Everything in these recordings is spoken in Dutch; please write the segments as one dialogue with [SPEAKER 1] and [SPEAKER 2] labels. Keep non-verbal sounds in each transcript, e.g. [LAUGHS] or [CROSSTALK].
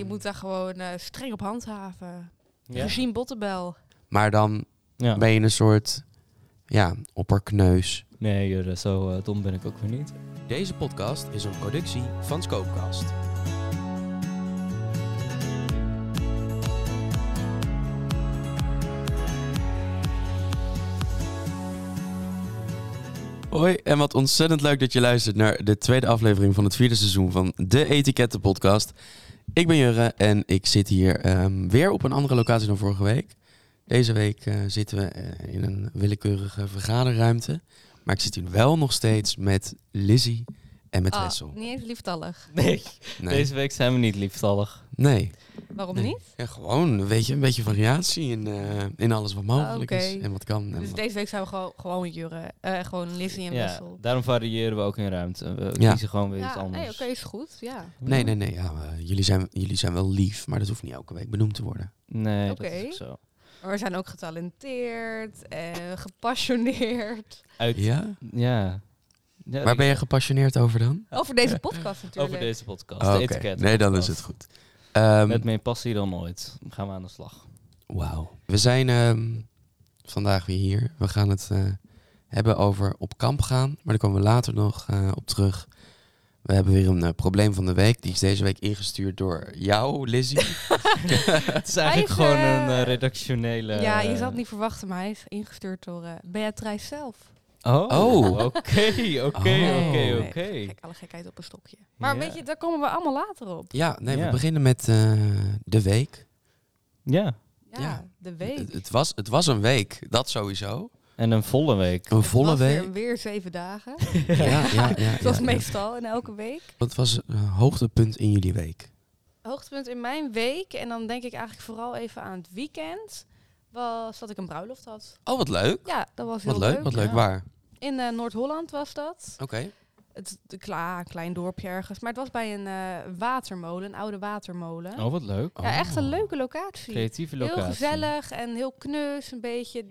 [SPEAKER 1] Je moet daar gewoon eh, streng op handhaven.
[SPEAKER 2] Ja.
[SPEAKER 1] Gezien Bottebel.
[SPEAKER 3] Maar dan
[SPEAKER 2] Ja.
[SPEAKER 3] ben je een soort ja, opperkneus.
[SPEAKER 2] Nee, joh, zo eh, dom ben ik ook weer niet.
[SPEAKER 3] Deze podcast is een productie van Scopecast. Hoi en wat ontzettend leuk dat je luistert naar de tweede aflevering van het vierde seizoen van de Etiketten Podcast. Ik ben Jurre en ik zit hier ehm, weer op een andere locatie dan vorige week. Deze week eh, zitten we eh, in een willekeurige vergaderruimte. Maar ik zit hier wel nog steeds met Lizzie en met
[SPEAKER 1] Ah,
[SPEAKER 3] Wessel.
[SPEAKER 1] niet eens lieftallig.
[SPEAKER 2] Nee,
[SPEAKER 3] [LAUGHS] Nee.
[SPEAKER 2] deze week zijn we niet lieftallig.
[SPEAKER 3] nee.
[SPEAKER 1] Waarom
[SPEAKER 3] Nee.
[SPEAKER 1] niet?
[SPEAKER 3] Ja, gewoon weet je, een beetje variatie in, eh, in alles wat mogelijk
[SPEAKER 1] Ah, oké.
[SPEAKER 3] is en wat kan. En
[SPEAKER 1] Dus
[SPEAKER 3] wat-
[SPEAKER 1] deze week zijn we gewoon, gewoon Jurre. eh, gewoon Lizzie en Wessel.
[SPEAKER 2] daarom variëren we ook in ruimte. We
[SPEAKER 3] Ja.
[SPEAKER 2] kiezen gewoon weer iets
[SPEAKER 1] Ja,
[SPEAKER 2] anders.
[SPEAKER 1] nee, oké, is goed. Ja.
[SPEAKER 3] Nee, nee, nee. Ja, eh, jullie, zijn, jullie zijn wel lief, maar dat hoeft niet elke week benoemd te worden.
[SPEAKER 2] Nee, dat
[SPEAKER 1] Oké.
[SPEAKER 2] is ook zo.
[SPEAKER 1] Maar we zijn ook getalenteerd en gepassioneerd.
[SPEAKER 2] Uit, ja.
[SPEAKER 3] Ja?
[SPEAKER 2] ja.
[SPEAKER 3] Waar ben je gepassioneerd over dan?
[SPEAKER 1] Over deze podcast natuurlijk.
[SPEAKER 2] Over deze podcast,
[SPEAKER 3] Oh,
[SPEAKER 2] de
[SPEAKER 3] oké.
[SPEAKER 2] etiket.
[SPEAKER 3] Nee, dan is het goed. Ehm,
[SPEAKER 2] Met meer passie dan ooit. Gaan we aan de
[SPEAKER 3] [LAUGHS]
[SPEAKER 2] slag.
[SPEAKER 3] Wauw. We zijn ehm, vandaag weer hier. We gaan het eh, hebben over op kamp gaan, maar daar komen we later nog eh, op terug. We hebben weer een eh, probleem van de week. Die is deze week ingestuurd door jou, Lizzie.
[SPEAKER 2] [LAUGHS] het is eigenlijk
[SPEAKER 1] Hij is,
[SPEAKER 2] gewoon een
[SPEAKER 1] eh,
[SPEAKER 2] eh, redactionele...
[SPEAKER 1] Ja, je zal het niet verwachten, maar hij is ingestuurd door eh Beatrice zelf.
[SPEAKER 2] Oh,
[SPEAKER 3] Oh.
[SPEAKER 2] oké, oké,
[SPEAKER 3] Oh.
[SPEAKER 2] oké,
[SPEAKER 1] Nee.
[SPEAKER 2] oké.
[SPEAKER 1] Kijk, alle gekheid op een stokje. Maar
[SPEAKER 2] Ja.
[SPEAKER 1] weet je, daar komen we allemaal later op.
[SPEAKER 3] ja, nee,
[SPEAKER 2] Ja.
[SPEAKER 3] we beginnen met eh, de week.
[SPEAKER 2] Ja,
[SPEAKER 1] Ja,
[SPEAKER 3] Ja.
[SPEAKER 1] de week.
[SPEAKER 3] Het, het was, het was een week, dat sowieso.
[SPEAKER 2] en een volle week.
[SPEAKER 3] Een
[SPEAKER 1] Het
[SPEAKER 3] volle
[SPEAKER 1] was
[SPEAKER 3] week.
[SPEAKER 1] Weer, weer zeven dagen.
[SPEAKER 3] Ja, ja, ja,
[SPEAKER 1] [LAUGHS]
[SPEAKER 3] ja,
[SPEAKER 1] Zoals
[SPEAKER 3] ja.
[SPEAKER 1] meestal in elke week.
[SPEAKER 3] Wat was een hoogtepunt in jullie week?
[SPEAKER 1] Hoogtepunt in mijn week, en dan denk ik eigenlijk vooral even aan het weekend, was dat ik een bruiloft had.
[SPEAKER 3] Oh, wat leuk.
[SPEAKER 1] Ja, dat was heel
[SPEAKER 3] Wat leuk, wat leuk.
[SPEAKER 2] ja.
[SPEAKER 3] Waar?
[SPEAKER 1] In eh, Noord-Holland was dat.
[SPEAKER 3] Oké.
[SPEAKER 1] Het is de Kla, een klein dorpje ergens. Maar het was bij een eh, watermolen, een oude watermolen.
[SPEAKER 2] Oh, wat leuk.
[SPEAKER 1] Ja, echt een
[SPEAKER 3] Oh.
[SPEAKER 1] leuke locatie.
[SPEAKER 2] Creatieve locatie.
[SPEAKER 1] Heel gezellig en heel knus, een beetje.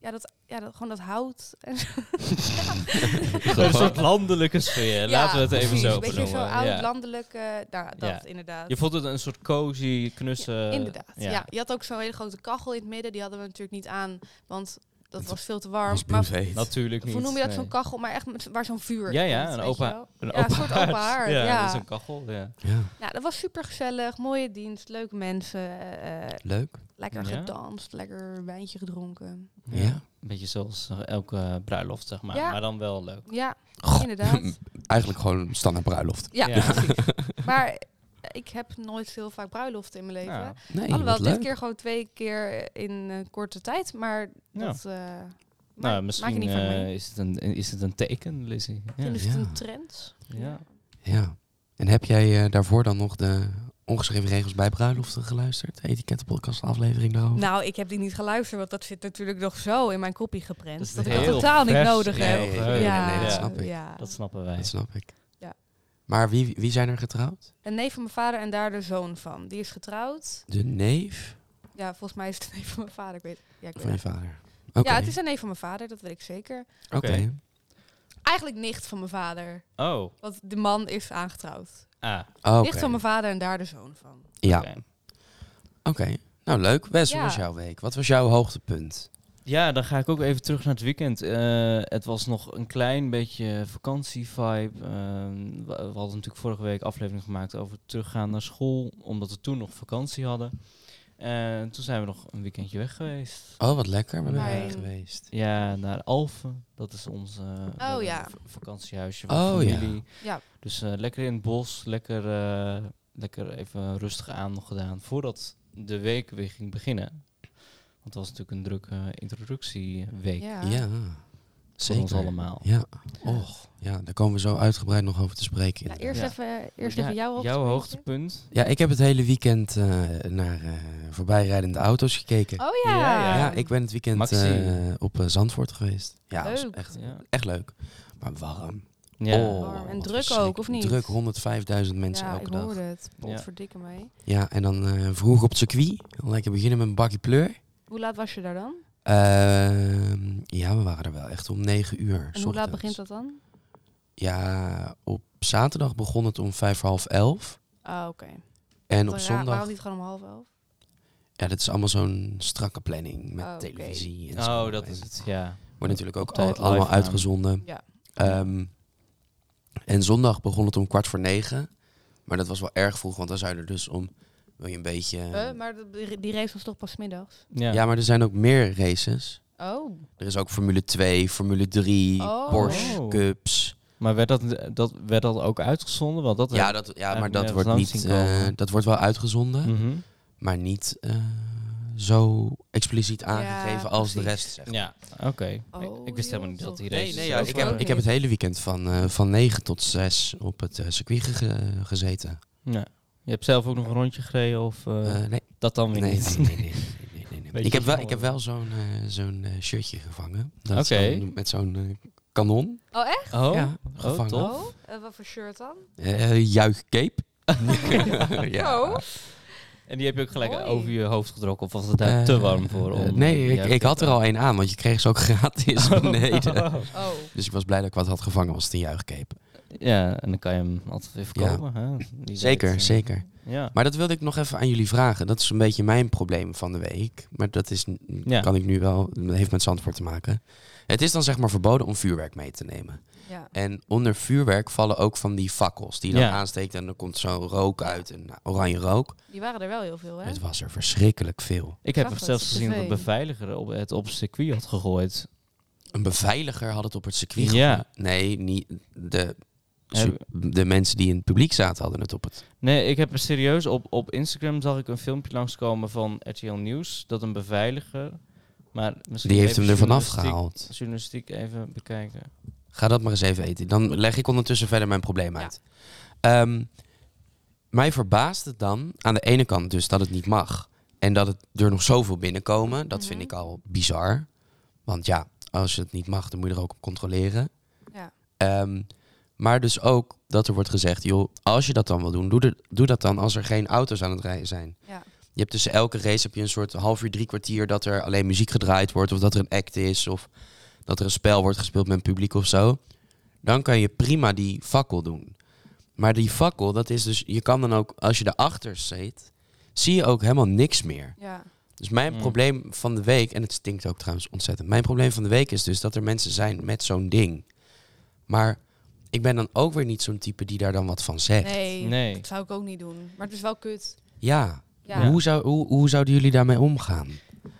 [SPEAKER 1] Ja, dat, ja dat, gewoon dat hout. [LAUGHS] En
[SPEAKER 2] [LAUGHS] Een soort landelijke sfeer. Laten we het even
[SPEAKER 1] precies,
[SPEAKER 2] zo
[SPEAKER 1] Een beetje
[SPEAKER 2] benoemen.
[SPEAKER 1] zo oud,
[SPEAKER 2] Ja.
[SPEAKER 1] landelijk. eh, nou, dat
[SPEAKER 2] Ja.
[SPEAKER 1] inderdaad.
[SPEAKER 2] Je vond het een soort cozy, knusse...
[SPEAKER 1] Ja, inderdaad. Ja. je had ook zo'n hele grote kachel in het midden. Die hadden we natuurlijk niet aan, want dat
[SPEAKER 3] Dat
[SPEAKER 1] was veel te warm.
[SPEAKER 3] was
[SPEAKER 1] Maar
[SPEAKER 3] privé.
[SPEAKER 2] Natuurlijk niet.
[SPEAKER 1] hoe noem je dat
[SPEAKER 2] nee.
[SPEAKER 1] zo'n kachel? Maar echt met, waar zo'n vuur.
[SPEAKER 2] Ja, ja,
[SPEAKER 1] komt,
[SPEAKER 2] een
[SPEAKER 1] weet
[SPEAKER 2] open-
[SPEAKER 1] je wel.
[SPEAKER 2] Een
[SPEAKER 1] Ja, een soort open haard, ja.
[SPEAKER 2] dat is een kachel, ja.
[SPEAKER 3] Ja,
[SPEAKER 1] Ja, dat was super gezellig. Mooie dienst, leuke mensen. eh, eh,
[SPEAKER 3] leuk.
[SPEAKER 1] lekker
[SPEAKER 2] Ja.
[SPEAKER 1] gedanst, lekker wijntje gedronken.
[SPEAKER 3] Ja.
[SPEAKER 2] Een beetje zoals eh, elke bruiloft, zeg maar.
[SPEAKER 1] Ja.
[SPEAKER 2] Maar dan wel leuk.
[SPEAKER 1] Ja,
[SPEAKER 3] Goh, [LAUGHS]
[SPEAKER 1] inderdaad.
[SPEAKER 3] Eigenlijk gewoon standaard bruiloft.
[SPEAKER 1] Ja,
[SPEAKER 2] Ja.
[SPEAKER 1] precies. [LAUGHS] Maar eh, ik heb nooit heel vaak bruiloften in mijn leven.
[SPEAKER 2] [LAUGHS] Ja.
[SPEAKER 3] Nee,
[SPEAKER 1] Alhoewel,
[SPEAKER 3] wat
[SPEAKER 1] dit
[SPEAKER 3] leuk.
[SPEAKER 1] keer gewoon twee keer eh, in een korte tijd. Maar
[SPEAKER 2] Ja.
[SPEAKER 1] dat eh, ma-
[SPEAKER 2] Nou,
[SPEAKER 1] maak je
[SPEAKER 2] misschien
[SPEAKER 1] niet van mee.
[SPEAKER 2] eh, is, het een, is het een teken, Lizzie. Ja.
[SPEAKER 1] Misschien is het
[SPEAKER 3] Ja.
[SPEAKER 1] een trend.
[SPEAKER 2] Ja.
[SPEAKER 3] Ja. En heb jij eh, daarvoor dan nog de ongeschreven regels bij bruiloften geluisterd? Etikettenpodcast aflevering daarover?
[SPEAKER 1] Nou, ik heb die niet geluisterd, want dat zit natuurlijk nog zo in mijn kopie
[SPEAKER 2] Dat
[SPEAKER 1] geprent.
[SPEAKER 2] is
[SPEAKER 1] Dat, ik
[SPEAKER 2] heel
[SPEAKER 1] dat totaal niet
[SPEAKER 2] vers
[SPEAKER 1] nodig
[SPEAKER 2] in je
[SPEAKER 1] heb.
[SPEAKER 3] Nee, nee,
[SPEAKER 2] geheugen.
[SPEAKER 3] nee, nee, dat
[SPEAKER 2] Ja.
[SPEAKER 3] snap ik.
[SPEAKER 1] ja.
[SPEAKER 2] Dat snappen wij.
[SPEAKER 3] Dat snap ik.
[SPEAKER 1] Ja.
[SPEAKER 3] Maar wie, wie zijn er getrouwd?
[SPEAKER 1] Een neef van mijn vader en daar de zoon van. Die is getrouwd.
[SPEAKER 3] De neef
[SPEAKER 1] Ja, volgens mij is het een neef van mijn vader. Ik weet, ja, ik weet
[SPEAKER 3] van je
[SPEAKER 1] het.
[SPEAKER 3] vader. Oké.
[SPEAKER 1] ja, het is een neef van mijn vader, dat weet ik zeker.
[SPEAKER 3] Oké.
[SPEAKER 2] Oké.
[SPEAKER 1] Eigenlijk nicht van mijn vader,
[SPEAKER 2] Oh,
[SPEAKER 1] want de man is aangetrouwd.
[SPEAKER 2] ah.
[SPEAKER 3] Oh, Oké.
[SPEAKER 1] Nicht van mijn vader en daar de zoon van.
[SPEAKER 3] Ja, oké.
[SPEAKER 2] oké.
[SPEAKER 3] Nou, leuk. Wes, hoe
[SPEAKER 1] Ja.
[SPEAKER 3] was jouw week? Wat was jouw hoogtepunt?
[SPEAKER 2] Ja, dan ga ik ook even terug naar het weekend. Eh, het was nog een klein beetje vakantievibe. Ehm, we we hadden natuurlijk vorige week aflevering gemaakt over teruggaan naar school, omdat we toen nog vakantie hadden. En toen zijn we nog een weekendje weg geweest.
[SPEAKER 3] Oh, wat lekker. Waar ben
[SPEAKER 1] Mijn-
[SPEAKER 3] jij geweest?
[SPEAKER 2] Ja, naar Alphen. Dat is ons eh, we hebben
[SPEAKER 1] ja.
[SPEAKER 2] een v- vakantiehuisje van
[SPEAKER 3] Oh, ja.
[SPEAKER 2] familie.
[SPEAKER 1] Ja.
[SPEAKER 2] Dus eh, lekker in het bos, lekker, eh, lekker even rustig aan nog gedaan voordat de week weer ging beginnen. Want het was natuurlijk een drukke eh, introductieweek.
[SPEAKER 1] Ja.
[SPEAKER 3] Ja.
[SPEAKER 2] Voor
[SPEAKER 3] Zeker.
[SPEAKER 2] ons allemaal.
[SPEAKER 3] Ja. Och. Ja, daar komen we zo uitgebreid nog over te spreken.
[SPEAKER 1] Nou,
[SPEAKER 3] inderdaad.
[SPEAKER 1] eerst
[SPEAKER 2] Ja.
[SPEAKER 1] even, eerst
[SPEAKER 2] Ja,
[SPEAKER 1] even jouw hoogtepunt.
[SPEAKER 2] Jouw hoogtepunt.
[SPEAKER 3] Ja, ik heb het hele weekend eh, naar eh, voorbijrijdende auto's gekeken.
[SPEAKER 1] Oh ja.
[SPEAKER 2] Ja, ja.
[SPEAKER 3] Ja, ik ben het weekend
[SPEAKER 2] Maxi.
[SPEAKER 3] eh, op eh, Zandvoort geweest. Ja, was
[SPEAKER 1] Leuk.
[SPEAKER 3] echt,
[SPEAKER 2] Ja.
[SPEAKER 3] echt leuk. Maar warm.
[SPEAKER 2] Ja.
[SPEAKER 3] Oh,
[SPEAKER 1] Warm. En druk
[SPEAKER 3] wat
[SPEAKER 1] ook,
[SPEAKER 3] verschrikkelijk.
[SPEAKER 1] of niet?
[SPEAKER 3] Druk, 105.000 mensen
[SPEAKER 1] ja,
[SPEAKER 3] elke
[SPEAKER 1] ik
[SPEAKER 3] dag.
[SPEAKER 1] hoorde het.
[SPEAKER 2] Ja.
[SPEAKER 1] Potverdikke mij.
[SPEAKER 3] Ja, en dan eh, vroeg op het circuit. Dan lekker beginnen met een bakje pleur.
[SPEAKER 1] Hoe laat was je daar dan?
[SPEAKER 3] Ehm, ja, we waren er wel echt om 9 uur.
[SPEAKER 1] En hoe laat begint dat dan?
[SPEAKER 3] Ja, op zaterdag begon het om vijf voor half elf.
[SPEAKER 1] Oh, Ah, oké.
[SPEAKER 3] En
[SPEAKER 1] Dan
[SPEAKER 3] op
[SPEAKER 1] ra-
[SPEAKER 3] zondag,
[SPEAKER 1] Oh Waarom niet gewoon om half elf?
[SPEAKER 3] ja, dit is allemaal zo'n strakke planning met
[SPEAKER 1] Oh, oké.
[SPEAKER 3] televisie en zo.
[SPEAKER 2] Oh, dat
[SPEAKER 3] En
[SPEAKER 2] is het. Ja.
[SPEAKER 3] Wordt natuurlijk ook
[SPEAKER 2] Op tijd
[SPEAKER 3] al-
[SPEAKER 2] live
[SPEAKER 3] allemaal
[SPEAKER 2] gaan.
[SPEAKER 3] uitgezonden.
[SPEAKER 1] Ja.
[SPEAKER 3] Ehm, en zondag begon het om kwart voor negen. Maar dat was wel erg vroeg, want dan zou je er dus om... Wil je een beetje...
[SPEAKER 1] Eh, maar dat- die die race was toch pas middags?
[SPEAKER 2] Ja.
[SPEAKER 3] Ja, maar er zijn ook meer races.
[SPEAKER 1] Oh.
[SPEAKER 3] Er is ook Formule 2, Formule 3,
[SPEAKER 1] Oh.
[SPEAKER 3] Porsche,
[SPEAKER 2] Oh.
[SPEAKER 3] Cups.
[SPEAKER 2] Maar werd dat, dat, werd dat ook uitgezonden? Want dat
[SPEAKER 3] Ja, dat, ja
[SPEAKER 2] heb
[SPEAKER 3] maar
[SPEAKER 2] ik
[SPEAKER 3] dat
[SPEAKER 2] nergens
[SPEAKER 3] wordt,
[SPEAKER 2] langs
[SPEAKER 3] niet,
[SPEAKER 2] zien komen.
[SPEAKER 3] eh, dat wordt wel uitgezonden,
[SPEAKER 2] Mhm.
[SPEAKER 3] maar niet eh, zo expliciet aangegeven als de
[SPEAKER 1] precies.
[SPEAKER 3] rest. zeg
[SPEAKER 2] Ja, oké. ik, ik wist
[SPEAKER 1] Oh, joh.
[SPEAKER 2] helemaal niet dat die race...
[SPEAKER 3] Nee, nee, ja, ik, heb,
[SPEAKER 1] Oké.
[SPEAKER 3] ik heb het hele weekend van, eh, van 9 tot 6 op het eh, circuit ge- gezeten.
[SPEAKER 2] Ja. Je hebt zelf ook nog een rondje gereden of eh,
[SPEAKER 3] Eh, nee,
[SPEAKER 2] dat dan
[SPEAKER 3] nee,
[SPEAKER 2] weer
[SPEAKER 3] nee,
[SPEAKER 2] niet?
[SPEAKER 3] nee, nee, nee, nee, nee.
[SPEAKER 2] Beetje
[SPEAKER 3] Ik heb wel,
[SPEAKER 2] jammer.
[SPEAKER 3] ik heb wel zo'n eh, zo'n eh, shirtje gevangen. Dat
[SPEAKER 2] Oké.
[SPEAKER 3] zo'n- met zo'n eh, kanon.
[SPEAKER 1] Oh, echt?
[SPEAKER 2] [LAUGHS] Oh,
[SPEAKER 3] Ja, gevangen.
[SPEAKER 2] tof.
[SPEAKER 1] Oh? Eh, wat voor shirt dan?
[SPEAKER 3] Eh
[SPEAKER 2] [LAUGHS]
[SPEAKER 3] juichcape. ja.
[SPEAKER 1] Oh.
[SPEAKER 2] En die heb je ook gelijk
[SPEAKER 1] Mooi.
[SPEAKER 2] over je hoofd getrokken of was het daar
[SPEAKER 3] Eh,
[SPEAKER 2] te warm voor?
[SPEAKER 3] eh,
[SPEAKER 2] Om,
[SPEAKER 3] nee, ik,
[SPEAKER 2] Ja,
[SPEAKER 3] ik had er al één aan, want je kreeg ze ook
[SPEAKER 2] [LAUGHS]
[SPEAKER 3] gratis beneden.
[SPEAKER 1] Oh.
[SPEAKER 3] Dus ik was blij dat ik wat had gevangen was het een juichcape.
[SPEAKER 2] Ja, en dan kan je hem altijd weer
[SPEAKER 3] Ja.
[SPEAKER 2] verkopen. Hè? Wie weet, eh,
[SPEAKER 3] Zeker, zeker.
[SPEAKER 2] Ja.
[SPEAKER 3] Maar dat wilde ik nog even aan jullie vragen. Dat is een beetje mijn probleem van de week. Maar dat is, n-
[SPEAKER 2] Ja.
[SPEAKER 3] kan ik nu wel, dat heeft met Zandvoort te maken. Het is dan zeg maar verboden om vuurwerk mee te nemen.
[SPEAKER 1] Ja.
[SPEAKER 3] En onder vuurwerk vallen ook van die fakkels die je dan
[SPEAKER 2] Ja.
[SPEAKER 3] aansteekt en dan komt zo'n rook uit, een oranje rook.
[SPEAKER 1] Die waren er wel heel veel, hè?
[SPEAKER 3] Het was er verschrikkelijk veel.
[SPEAKER 2] Ik heb
[SPEAKER 1] Zag het,
[SPEAKER 2] zelfs gezien dat een
[SPEAKER 1] tv.
[SPEAKER 2] beveiliger op het op het circuit had gegooid.
[SPEAKER 3] Een beveiliger had het op het circuit
[SPEAKER 2] Ja.
[SPEAKER 3] gegooid. Nee, niet de,
[SPEAKER 2] Heb-
[SPEAKER 3] de mensen die in het publiek zaten hadden het op het...
[SPEAKER 2] Nee, ik heb er serieus op, op Instagram zag ik een filmpje langskomen van RTL Nieuws dat een beveiliger, maar misschien
[SPEAKER 3] Die heeft hem
[SPEAKER 2] even
[SPEAKER 3] er vanaf
[SPEAKER 2] journalistiek-
[SPEAKER 3] gehaald.
[SPEAKER 2] Journalistiek even bekijken.
[SPEAKER 3] Ga dat maar eens even eten. Dan leg ik ondertussen verder mijn probleem
[SPEAKER 1] Ja.
[SPEAKER 3] uit. Ehm, mij verbaast het dan aan de ene kant dus dat het niet mag. En dat het er nog zoveel binnenkomen. Dat vind
[SPEAKER 1] Mhm.
[SPEAKER 3] ik al bizar. Want ja, als het niet mag, dan moet je er ook op controleren.
[SPEAKER 1] Ja.
[SPEAKER 3] Ehm, maar dus ook dat er wordt gezegd, joh, als je dat dan wil doen, doe, er- doe dat dan als er geen auto's aan het rijden zijn.
[SPEAKER 1] Ja.
[SPEAKER 3] Je hebt tussen elke race heb je een soort half uur, drie kwartier dat er alleen muziek gedraaid wordt. Of dat er een act is. Of dat er een spel wordt gespeeld met publiek of zo. Dan kan je prima die fakkel doen. Maar die fakkel, dat is dus, je kan dan ook, als je erachter zit, zie je ook helemaal niks meer.
[SPEAKER 1] Ja.
[SPEAKER 3] Dus mijn
[SPEAKER 2] Mm.
[SPEAKER 3] probleem van de week, en het stinkt ook trouwens ontzettend. Mijn probleem van de week is dus dat er mensen zijn met zo'n ding. Maar ik ben dan ook weer niet zo'n type die daar dan wat van zegt.
[SPEAKER 1] Nee,
[SPEAKER 2] Nee.
[SPEAKER 1] dat zou ik ook niet doen. Maar het is wel kut.
[SPEAKER 3] Ja,
[SPEAKER 1] Ja.
[SPEAKER 3] Hoe, zou, hoe, hoe zouden jullie daarmee omgaan?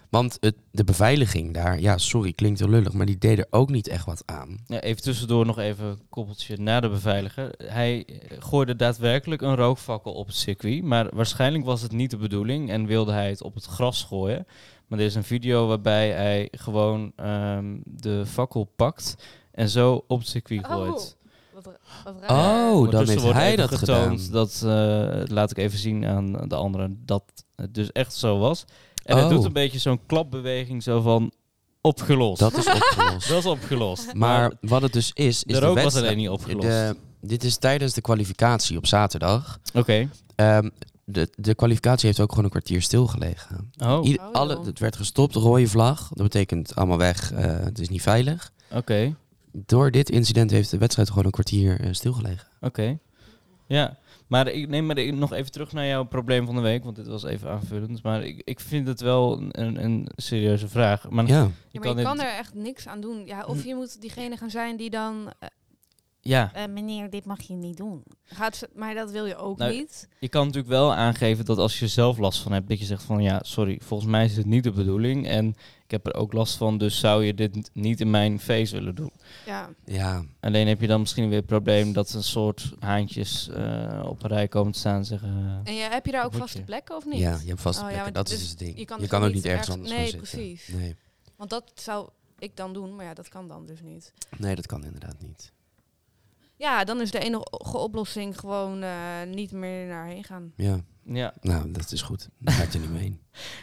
[SPEAKER 3] Want het, de beveiliging daar, ja, sorry, klinkt heel lullig, maar die deed er ook niet echt wat aan.
[SPEAKER 2] Ja, even tussendoor nog even een koppeltje naar de beveiliger. Hij eh, gooide daadwerkelijk een rookvakkel op het circuit. Maar waarschijnlijk was het niet de bedoeling en wilde hij het op het gras gooien. Maar er is een video waarbij hij gewoon ehm, de fakkel pakt en zo op het circuit gooit.
[SPEAKER 1] Wat, ra- wat raar.
[SPEAKER 3] Oh, dan
[SPEAKER 2] Ondertussen
[SPEAKER 3] heeft
[SPEAKER 2] wordt
[SPEAKER 3] hij
[SPEAKER 2] even
[SPEAKER 3] dat gedaan.
[SPEAKER 2] Dat eh, laat ik even zien aan de anderen dat het dus echt zo was. En
[SPEAKER 3] Oh.
[SPEAKER 2] hij doet een beetje zo'n klapbeweging zo van opgelost.
[SPEAKER 3] Dat
[SPEAKER 1] [LAUGHS]
[SPEAKER 3] is opgelost.
[SPEAKER 2] Dat is opgelost.
[SPEAKER 3] maar wat het dus is, is
[SPEAKER 2] de rook was
[SPEAKER 3] wedstrijd-
[SPEAKER 2] alleen niet opgelost.
[SPEAKER 3] de- dit is tijdens de kwalificatie op zaterdag.
[SPEAKER 2] Oké.
[SPEAKER 3] Ehm, de, de kwalificatie heeft ook gewoon een kwartier stilgelegen.
[SPEAKER 2] Oh, oké.
[SPEAKER 3] Ieder-
[SPEAKER 1] Oh, joh.
[SPEAKER 3] alle, het werd gestopt, rode vlag. Dat betekent allemaal weg, eh, het is niet veilig. Door dit incident heeft de wedstrijd gewoon een kwartier eh, stilgelegen.
[SPEAKER 2] Oké. Ja, maar ik neem maar ik- nog even terug naar jouw probleem van de week, want dit was even aanvullend. Maar ik, ik vind het wel een, een serieuze vraag. Maar
[SPEAKER 3] Ja.
[SPEAKER 1] Ja, maar je
[SPEAKER 2] dit-
[SPEAKER 1] kan er echt niks aan doen. Ja,
[SPEAKER 3] Hm.
[SPEAKER 1] of je moet diegene gaan zijn die dan... eh,
[SPEAKER 2] ja,
[SPEAKER 1] eh, meneer, dit mag je niet doen. Gaat, ze- maar dat wil je ook
[SPEAKER 2] Nou,
[SPEAKER 1] niet.
[SPEAKER 2] je kan natuurlijk wel aangeven dat als je er zelf last van hebt, dat je zegt van ja, sorry, volgens mij is het niet de bedoeling en ik heb er ook last van, dus zou je dit n- niet in mijn face willen doen.
[SPEAKER 1] Ja.
[SPEAKER 3] ja,
[SPEAKER 2] Alleen heb je dan misschien weer het probleem dat een soort haantjes eh, op een rij komen te staan en zeggen... eh,
[SPEAKER 1] En ja, heb je daar ook
[SPEAKER 2] Moet
[SPEAKER 1] vaste
[SPEAKER 2] je.
[SPEAKER 1] plekken of niet?
[SPEAKER 3] Ja, je hebt vaste
[SPEAKER 1] Oh ja,
[SPEAKER 3] plekken.
[SPEAKER 1] want
[SPEAKER 3] dat is
[SPEAKER 1] dus
[SPEAKER 3] dus het ding.
[SPEAKER 1] je
[SPEAKER 3] Je
[SPEAKER 1] kan
[SPEAKER 3] kan,
[SPEAKER 1] dus
[SPEAKER 3] ook
[SPEAKER 1] niet
[SPEAKER 3] niet ergens
[SPEAKER 1] ergens-
[SPEAKER 3] anders
[SPEAKER 1] nee,
[SPEAKER 3] gaan zitten.
[SPEAKER 1] precies.
[SPEAKER 3] Nee,
[SPEAKER 1] Want dat zou ik dan doen, maar ja, dat kan dan dus niet.
[SPEAKER 3] nee, dat kan inderdaad niet.
[SPEAKER 1] Ja, dan is de enige oplossing gewoon eh, niet meer naar heen gaan.
[SPEAKER 3] Ja,
[SPEAKER 2] ja,
[SPEAKER 3] nou, dat is goed. Daar gaat je niet mee
[SPEAKER 1] [LAUGHS]
[SPEAKER 3] heen.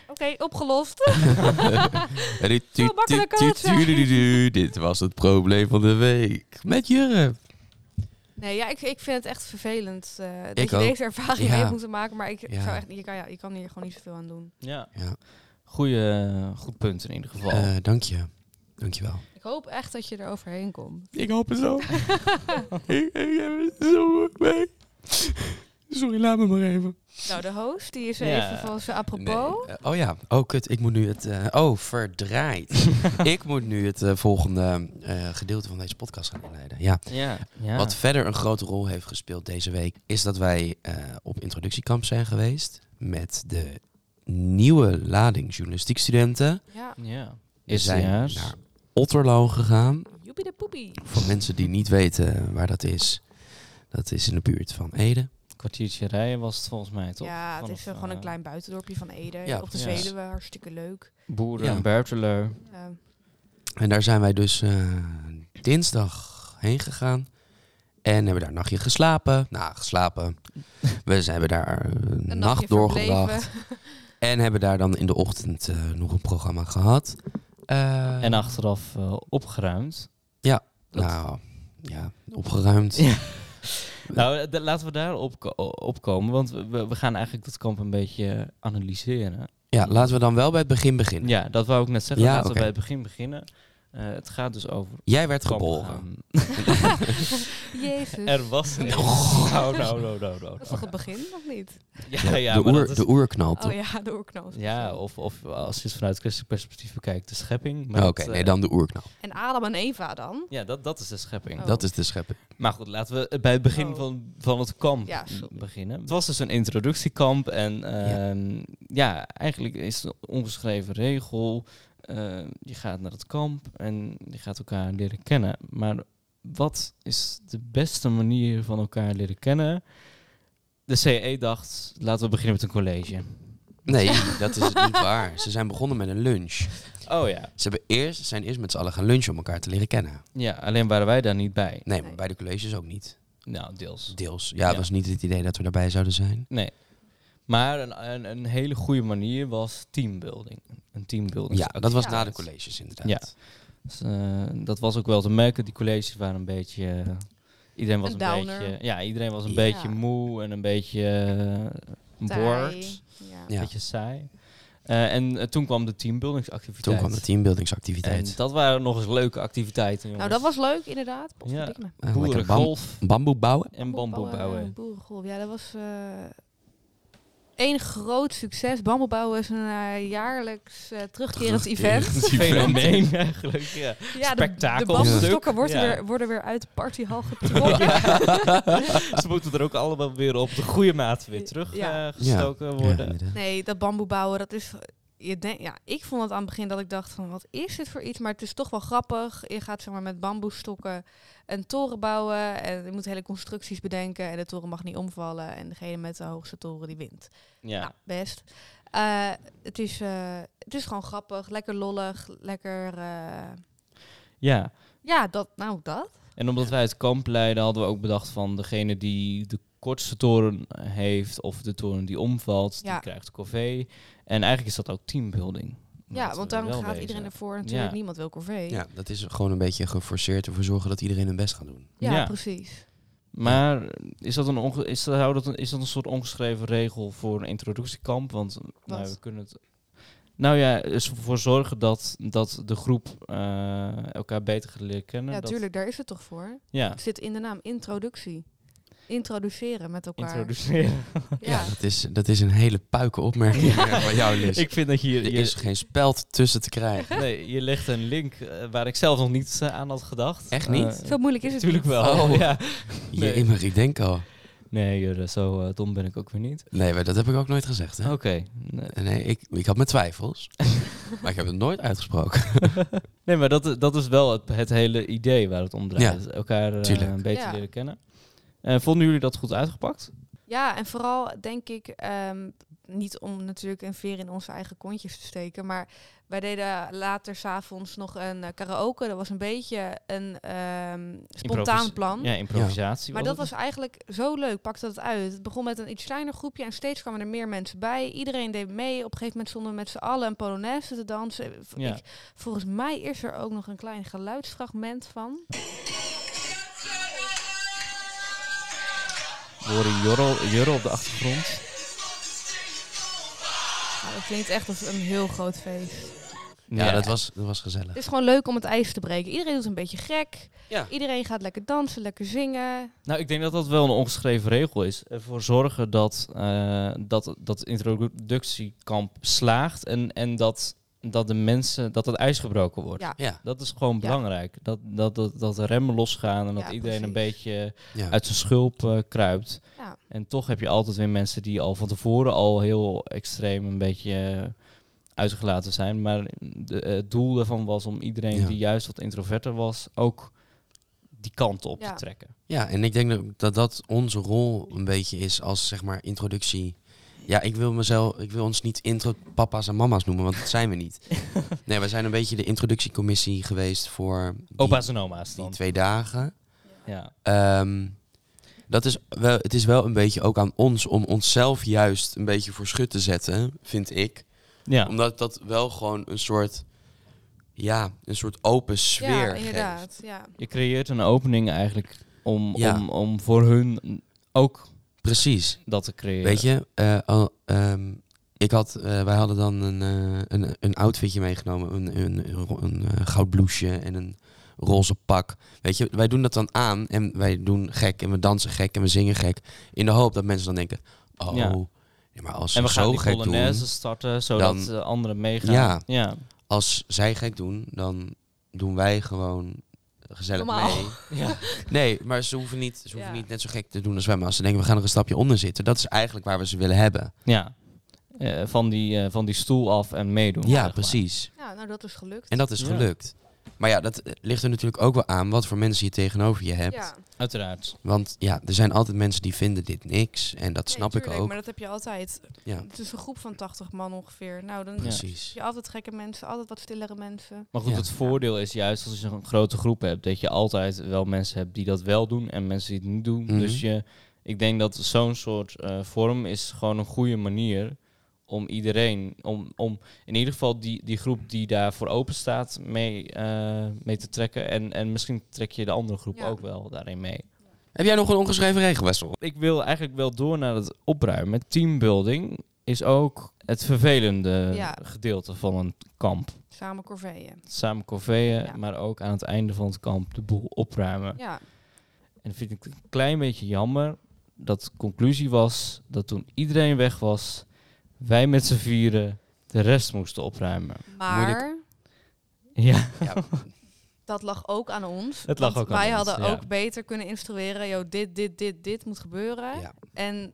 [SPEAKER 1] Oké, opgelost.
[SPEAKER 3] En dit-
[SPEAKER 1] Zo makkelijk kan het zijn.
[SPEAKER 3] du- du- du- Dit was het probleem van de week. Met Jurre.
[SPEAKER 1] Nee, ja, ik, ik vind het echt vervelend eh, dat
[SPEAKER 3] Ik
[SPEAKER 1] je
[SPEAKER 3] ook.
[SPEAKER 1] deze ervaring
[SPEAKER 3] Ja.
[SPEAKER 1] heeft moeten maken. Maar ik
[SPEAKER 3] Ja.
[SPEAKER 1] zou echt, je kan, ja, je kan hier gewoon niet zoveel aan doen.
[SPEAKER 2] ja.
[SPEAKER 3] Ja.
[SPEAKER 2] Goeie, goed punt in ieder geval.
[SPEAKER 3] Eh, dank je. Dank je wel.
[SPEAKER 1] Ik hoop echt dat je er overheen komt. [LAUGHS]
[SPEAKER 3] Ik hoop het zo. ik, heb het zo mee. Sorry, laat me maar even.
[SPEAKER 1] Nou, de host, die is
[SPEAKER 2] Ja.
[SPEAKER 1] even van zijn apropos.
[SPEAKER 3] Nee, eh, oh ja. Oh, kut. Ik moet nu het... eh,
[SPEAKER 1] [LAUGHS]
[SPEAKER 3] oh, verdraaid. ik moet nu het eh, volgende eh, gedeelte van deze podcast gaan inleiden. Ja.
[SPEAKER 2] Ja. ja.
[SPEAKER 3] Wat verder een grote rol heeft gespeeld deze week... is dat wij eh, op introductiekamp zijn geweest... met de nieuwe lading journalistiekstudenten.
[SPEAKER 1] Ja,
[SPEAKER 2] Ja.
[SPEAKER 3] We zijn
[SPEAKER 2] Eerstejaars.
[SPEAKER 3] naar Otterlo gegaan.
[SPEAKER 1] joepie de poepie.
[SPEAKER 3] Voor mensen die niet weten waar dat is... dat is in de buurt van Ede.
[SPEAKER 2] kwartiertje rijden was het volgens mij, toch?
[SPEAKER 1] Ja, het is
[SPEAKER 2] Vanaf,
[SPEAKER 1] eh, gewoon een
[SPEAKER 2] eh,
[SPEAKER 1] klein buitendorpje van Ede.
[SPEAKER 3] ja,
[SPEAKER 1] op de
[SPEAKER 2] ja.
[SPEAKER 1] Veluwe, hartstikke leuk. Eh,
[SPEAKER 2] Boeren
[SPEAKER 3] Ja.
[SPEAKER 2] en Berteleur.
[SPEAKER 1] Ja.
[SPEAKER 3] En daar zijn wij dus eh, dinsdag heen gegaan. En hebben daar een nachtje geslapen. Nou, geslapen. We zijn hebben daar eh, een
[SPEAKER 1] Een
[SPEAKER 3] nacht
[SPEAKER 1] nachtje
[SPEAKER 3] doorgebracht.
[SPEAKER 1] verbleven.
[SPEAKER 3] En hebben daar dan in de ochtend eh, nog een programma gehad. Eh,
[SPEAKER 2] En achteraf eh, opgeruimd. dat-
[SPEAKER 3] Nou, ja, opgeruimd.
[SPEAKER 2] Ja. Nou, de- laten we daar op, opkomen, want we, we gaan eigenlijk dat kamp een beetje analyseren.
[SPEAKER 3] Ja, laten we dan wel bij het begin beginnen.
[SPEAKER 2] Ja, dat wou ik net zeggen.
[SPEAKER 3] Ja,
[SPEAKER 2] laten
[SPEAKER 3] oké.
[SPEAKER 2] we bij het begin beginnen. Eh, het gaat dus over...
[SPEAKER 3] Jij werd
[SPEAKER 2] kamp
[SPEAKER 3] geboren.
[SPEAKER 2] gaan.
[SPEAKER 1] [LAUGHS] Jezus.
[SPEAKER 2] Er was een...
[SPEAKER 3] Oh.
[SPEAKER 2] Nou, nou, nou, nou, nou.
[SPEAKER 1] Dat is toch het begin, of niet?
[SPEAKER 2] Ja, ja,
[SPEAKER 3] de,
[SPEAKER 2] maar
[SPEAKER 3] oer,
[SPEAKER 2] dat is-
[SPEAKER 3] de oer knalt.
[SPEAKER 1] Oh ja, de oorknal.
[SPEAKER 2] Ja, of, of als je het vanuit christelijk perspectief bekijkt, de schepping. Maar
[SPEAKER 3] Oh, Oké,
[SPEAKER 2] dat, eh,
[SPEAKER 3] nee, dan de oerknal.
[SPEAKER 1] En Adam en Eva dan?
[SPEAKER 2] Ja, dat, dat is de schepping.
[SPEAKER 1] Oh.
[SPEAKER 3] Dat is de schepping.
[SPEAKER 2] Maar goed, laten we bij het begin
[SPEAKER 1] Oh.
[SPEAKER 2] van, van het kamp
[SPEAKER 1] Ja, sorry.
[SPEAKER 2] beginnen. Het was dus een introductiekamp en ehm, ja. eigenlijk is de ongeschreven regel, eh, je gaat naar het kamp en je gaat elkaar leren kennen. Maar wat is de beste manier van elkaar leren kennen? De CE dacht, laten we beginnen met een college. [LAUGHS]
[SPEAKER 3] Nee, dat is het niet waar. Ze zijn begonnen met een lunch.
[SPEAKER 2] Oh ja.
[SPEAKER 3] Ze hebben eerst, zijn eerst met z'n allen gaan lunchen om elkaar te leren kennen.
[SPEAKER 2] Ja, alleen waren wij daar niet bij.
[SPEAKER 3] Nee, maar
[SPEAKER 1] Nee.
[SPEAKER 3] bij de colleges ook niet.
[SPEAKER 2] Nou, deels.
[SPEAKER 3] Deels. Ja, het
[SPEAKER 2] Ja.
[SPEAKER 3] was niet het idee dat we daarbij zouden zijn.
[SPEAKER 2] Nee. Maar een, een, een hele goede manier was teambuilding. Een teambuilding.
[SPEAKER 3] Ja, dat was
[SPEAKER 1] Ja.
[SPEAKER 3] na de colleges inderdaad.
[SPEAKER 2] Ja. Dus, eh, dat was ook wel te merken. Die colleges waren een beetje. eh, iedereen was
[SPEAKER 1] Een
[SPEAKER 2] een,
[SPEAKER 1] downer.
[SPEAKER 2] beetje. Ja, iedereen was een
[SPEAKER 3] Ja.
[SPEAKER 2] beetje moe en een beetje eh,
[SPEAKER 1] Taai.
[SPEAKER 2] bored.
[SPEAKER 1] Ja.
[SPEAKER 3] Ja.
[SPEAKER 2] Een beetje saai. Eh, en eh, toen kwam de teambuildingsactiviteit.
[SPEAKER 3] Toen kwam de
[SPEAKER 2] En
[SPEAKER 3] teambuildingsactiviteit.
[SPEAKER 2] dat waren nog eens leuke activiteiten. Jongens.
[SPEAKER 1] Nou, dat was leuk inderdaad.
[SPEAKER 2] Ja.
[SPEAKER 1] Potverdikke.
[SPEAKER 3] Eh, lekker bam-
[SPEAKER 2] boerengolf
[SPEAKER 3] bamboe bouwen.
[SPEAKER 2] en bamboe bouwen.
[SPEAKER 1] eh, Boerengolf. Ja, dat was eh één groot succes. Bamboe bouwen is een eh, jaarlijks eh, terugkerend event.
[SPEAKER 2] [LAUGHS] Fenomeen eigenlijk. Ja.
[SPEAKER 1] Ja, de, de
[SPEAKER 2] Spektakel.
[SPEAKER 1] bamboestokken worden,
[SPEAKER 2] Ja.
[SPEAKER 1] weer, worden weer uit de
[SPEAKER 2] [LAUGHS]
[SPEAKER 1] partyhal getrokken.
[SPEAKER 2] Ze moeten er ook allemaal weer op de goede maat weer terug
[SPEAKER 1] Ja.
[SPEAKER 2] eh, gestoken worden.
[SPEAKER 3] inderdaad.
[SPEAKER 1] Nee, dat bamboe bouwen, dat is... eh, Je denk, ja, ik vond het aan het begin dat ik dacht van, wat is dit voor iets? Maar het is toch wel grappig. Je gaat zeg maar, met bamboestokken een toren bouwen. En je moet hele constructies bedenken. En de toren mag niet omvallen. En degene met de hoogste toren, die wint.
[SPEAKER 2] Ja.
[SPEAKER 1] Nou, best. Eh, het, is, eh, het is gewoon grappig, lekker lollig, lekker... eh,
[SPEAKER 2] ja.
[SPEAKER 1] ja, dat, nou dat.
[SPEAKER 2] En omdat wij het kamp leiden, hadden we ook bedacht van degene die de kortste toren heeft of de toren die omvalt,
[SPEAKER 1] Ja.
[SPEAKER 2] die krijgt corvée. En eigenlijk is dat ook teambuilding.
[SPEAKER 1] ja,
[SPEAKER 2] Omdat
[SPEAKER 1] want
[SPEAKER 2] we
[SPEAKER 1] dan
[SPEAKER 2] wel
[SPEAKER 1] gaat
[SPEAKER 2] wezen.
[SPEAKER 1] iedereen ervoor en natuurlijk
[SPEAKER 2] Ja.
[SPEAKER 1] niemand wil corvée. Ja,
[SPEAKER 3] Ja, dat is gewoon een beetje geforceerd ervoor zorgen dat iedereen hun best gaat doen.
[SPEAKER 2] Ja.
[SPEAKER 1] precies.
[SPEAKER 2] Maar is dat, een onge- is, dat, zou dat een, is dat een soort ongeschreven regel voor een introductiekamp? Want nou,
[SPEAKER 1] Wat?
[SPEAKER 2] we kunnen het. Nou ja, is ervoor zorgen dat, dat de groep eh, elkaar beter gaat leren kennen.
[SPEAKER 1] ja,
[SPEAKER 2] Nou, dat-
[SPEAKER 1] tuurlijk, daar is het toch voor.
[SPEAKER 2] Ja,
[SPEAKER 1] Het zit in de naam introductie. Introduceren met elkaar.
[SPEAKER 2] introduceren.
[SPEAKER 1] ja.
[SPEAKER 3] Dat is, dat is een hele puike opmerking eh, van jou,
[SPEAKER 2] [LAUGHS]
[SPEAKER 3] Liz.
[SPEAKER 2] Ik vind dat je,
[SPEAKER 3] er
[SPEAKER 2] je,
[SPEAKER 3] is geen speld tussen te krijgen.
[SPEAKER 2] nee, je legt een link eh, waar ik zelf nog niet eh, aan had gedacht.
[SPEAKER 3] Echt niet?
[SPEAKER 2] Eh,
[SPEAKER 1] Zo moeilijk is het
[SPEAKER 2] Natuurlijk
[SPEAKER 1] niet.
[SPEAKER 2] wel.
[SPEAKER 3] Oh.
[SPEAKER 2] [LAUGHS] Ja.
[SPEAKER 3] Je
[SPEAKER 2] Nee.
[SPEAKER 3] in mijn denk al.
[SPEAKER 2] Nee, joh, zo eh, dom ben ik ook weer niet.
[SPEAKER 3] Nee, maar dat heb ik ook nooit gezegd. Hè?
[SPEAKER 2] Oké. Nee.
[SPEAKER 3] Nee, ik, ik had mijn
[SPEAKER 2] [LAUGHS]
[SPEAKER 3] twijfels. maar ik heb het nooit uitgesproken.
[SPEAKER 2] Nee, maar dat, dat is wel het, het hele idee waar het om draait. Elkaar eh,
[SPEAKER 3] tuurlijk.
[SPEAKER 2] beter
[SPEAKER 1] Ja.
[SPEAKER 2] leren kennen. Eh, vonden jullie dat goed uitgepakt?
[SPEAKER 1] Ja, en vooral denk ik, ehm, niet om natuurlijk een veer in onze eigen kontjes te steken, maar wij deden later s'avonds nog een eh, karaoke. Dat was een beetje een ehm, spontaan
[SPEAKER 2] Improvis-
[SPEAKER 1] plan.
[SPEAKER 2] Ja, improvisatie.
[SPEAKER 1] Maar dat was eigenlijk zo leuk, pakte dat uit. Het begon met een iets kleiner groepje en steeds kwamen er meer mensen bij. Iedereen deed mee. Op een gegeven moment stonden we met z'n allen een polonaise te dansen. Eh, V-
[SPEAKER 2] Ja.
[SPEAKER 1] Ik, volgens mij is er ook nog een klein geluidsfragment van.
[SPEAKER 2] We horen jorrel, jorrel op de achtergrond.
[SPEAKER 1] Nou, dat klinkt echt als een heel groot feest.
[SPEAKER 3] Ja, Dat, was, dat was gezellig.
[SPEAKER 1] Het is gewoon leuk om het ijs te breken. Iedereen doet een beetje gek.
[SPEAKER 3] Ja.
[SPEAKER 1] Iedereen gaat lekker dansen, lekker zingen.
[SPEAKER 2] Nou, ik denk dat dat wel een ongeschreven regel is. Ervoor zorgen dat eh, dat, dat introductiekamp slaagt en, en dat, dat de mensen, dat het ijs gebroken wordt.
[SPEAKER 1] Ja.
[SPEAKER 3] Ja,
[SPEAKER 2] Dat is gewoon
[SPEAKER 1] Ja.
[SPEAKER 2] belangrijk. Dat, dat, dat, dat de remmen losgaan en dat
[SPEAKER 1] Ja,
[SPEAKER 2] iedereen een
[SPEAKER 1] precies.
[SPEAKER 2] beetje
[SPEAKER 3] ja.
[SPEAKER 2] uit zijn schulp eh, kruipt.
[SPEAKER 1] Ja.
[SPEAKER 2] En toch heb je altijd weer mensen die al van tevoren al heel extreem een beetje eh, uitgelaten zijn. Maar de- eh, het doel daarvan was om iedereen
[SPEAKER 3] Ja.
[SPEAKER 2] die juist wat introverter was, ook die kant op
[SPEAKER 1] Ja.
[SPEAKER 2] te trekken.
[SPEAKER 3] ja, en ik denk dat- dat dat onze rol een beetje is als zeg maar introductie. Ja, ik wil mezelf, ik wil ons niet intro-papa's en mama's noemen, want dat zijn we niet.
[SPEAKER 2] [LAUGHS]
[SPEAKER 3] Nee, we zijn een beetje de introductiecommissie geweest voor die,
[SPEAKER 2] Opa's en oma's
[SPEAKER 3] die
[SPEAKER 2] dan.
[SPEAKER 3] twee dagen.
[SPEAKER 2] Ja.
[SPEAKER 3] Ehm, dat is wel, het is wel een beetje ook aan ons om onszelf juist een beetje voor schut te zetten, vind ik.
[SPEAKER 2] Ja.
[SPEAKER 3] Omdat dat wel gewoon een soort, ja, een soort open sfeer
[SPEAKER 1] ja,
[SPEAKER 3] geeft.
[SPEAKER 1] inderdaad. Ja.
[SPEAKER 2] Je creëert een opening eigenlijk om,
[SPEAKER 3] Ja.
[SPEAKER 2] om, om voor hun ook
[SPEAKER 3] Precies.
[SPEAKER 2] dat te creëren.
[SPEAKER 3] Weet je, eh, al, ehm, ik had, eh, wij hadden dan een, eh, een, een outfitje meegenomen. Een, een, een, ro- een, eh, goud blouseje en een roze pak. Weet je, wij doen dat dan aan en wij doen gek en we dansen gek en we zingen gek. In de hoop dat mensen dan denken, oh,
[SPEAKER 2] Ja.
[SPEAKER 3] ja, maar als
[SPEAKER 2] En we
[SPEAKER 3] ze zo
[SPEAKER 2] gaan die
[SPEAKER 3] gek
[SPEAKER 2] polonaise
[SPEAKER 3] doen,
[SPEAKER 2] starten, zodat
[SPEAKER 3] dan-
[SPEAKER 2] eh, anderen meegaan.
[SPEAKER 3] Ja.
[SPEAKER 2] ja.
[SPEAKER 3] als zij gek doen, dan doen wij gewoon gezellig
[SPEAKER 1] Normaal.
[SPEAKER 3] mee.
[SPEAKER 2] ja.
[SPEAKER 3] Nee, maar ze hoeven, niet, ze hoeven
[SPEAKER 1] Ja.
[SPEAKER 3] niet net zo gek te doen als wij. Maar als ze denken, we gaan er een stapje onder zitten. Dat is eigenlijk waar we ze willen hebben.
[SPEAKER 2] Ja. Eh, van, die, eh, van die stoel af en meedoen. zeg
[SPEAKER 3] Ja,
[SPEAKER 2] maar.
[SPEAKER 3] precies.
[SPEAKER 1] ja, nou dat is gelukt.
[SPEAKER 3] En dat is
[SPEAKER 2] Ja.
[SPEAKER 3] gelukt. Maar ja, dat eh, ligt er natuurlijk ook wel aan wat voor mensen je tegenover je hebt.
[SPEAKER 1] ja.
[SPEAKER 2] Uiteraard.
[SPEAKER 3] Want ja, er zijn altijd mensen die vinden dit niks. En dat snap
[SPEAKER 1] Nee,
[SPEAKER 3] ik
[SPEAKER 1] tuurlijk,
[SPEAKER 3] ook.
[SPEAKER 1] Maar dat heb je altijd.
[SPEAKER 3] Ja.
[SPEAKER 1] Het is een groep van 80 man ongeveer. Nou, dan heb
[SPEAKER 3] Precies.
[SPEAKER 1] je altijd gekke mensen, altijd wat stillere mensen.
[SPEAKER 2] Maar goed,
[SPEAKER 3] Ja.
[SPEAKER 2] het voordeel is juist als je zo'n grote groep hebt, dat je altijd wel mensen hebt die dat wel doen en mensen die het niet doen.
[SPEAKER 3] Mhm.
[SPEAKER 2] Dus je, ik denk dat zo'n soort eh, vorm is gewoon een goede manier om iedereen, om, om in ieder geval die, die groep die daarvoor open staat, mee, eh, mee te trekken. En, en misschien trek je de andere groep
[SPEAKER 1] Ja.
[SPEAKER 2] ook wel daarin mee.
[SPEAKER 3] Heb jij nog een ongeschreven regel, Wessel?
[SPEAKER 2] Ik wil eigenlijk wel door naar het opruimen. Teambuilding is ook het vervelende
[SPEAKER 1] Ja.
[SPEAKER 2] gedeelte van een kamp.
[SPEAKER 1] Samen corveeën.
[SPEAKER 2] Samen corveeën,
[SPEAKER 1] Ja.
[SPEAKER 2] maar ook aan het einde van het kamp de boel opruimen.
[SPEAKER 1] Ja,
[SPEAKER 2] En vind ik een klein beetje jammer dat de conclusie was dat toen iedereen weg was, wij met z'n vieren de rest moesten opruimen.
[SPEAKER 1] maar
[SPEAKER 2] Ja,
[SPEAKER 1] dat lag ook aan ons.
[SPEAKER 2] Het lag
[SPEAKER 1] Want
[SPEAKER 2] ook aan
[SPEAKER 1] wij
[SPEAKER 2] ons,
[SPEAKER 1] hadden
[SPEAKER 2] ja.
[SPEAKER 1] ook beter kunnen instrueren, joh, dit, dit, dit, dit moet gebeuren.
[SPEAKER 3] Ja.
[SPEAKER 1] En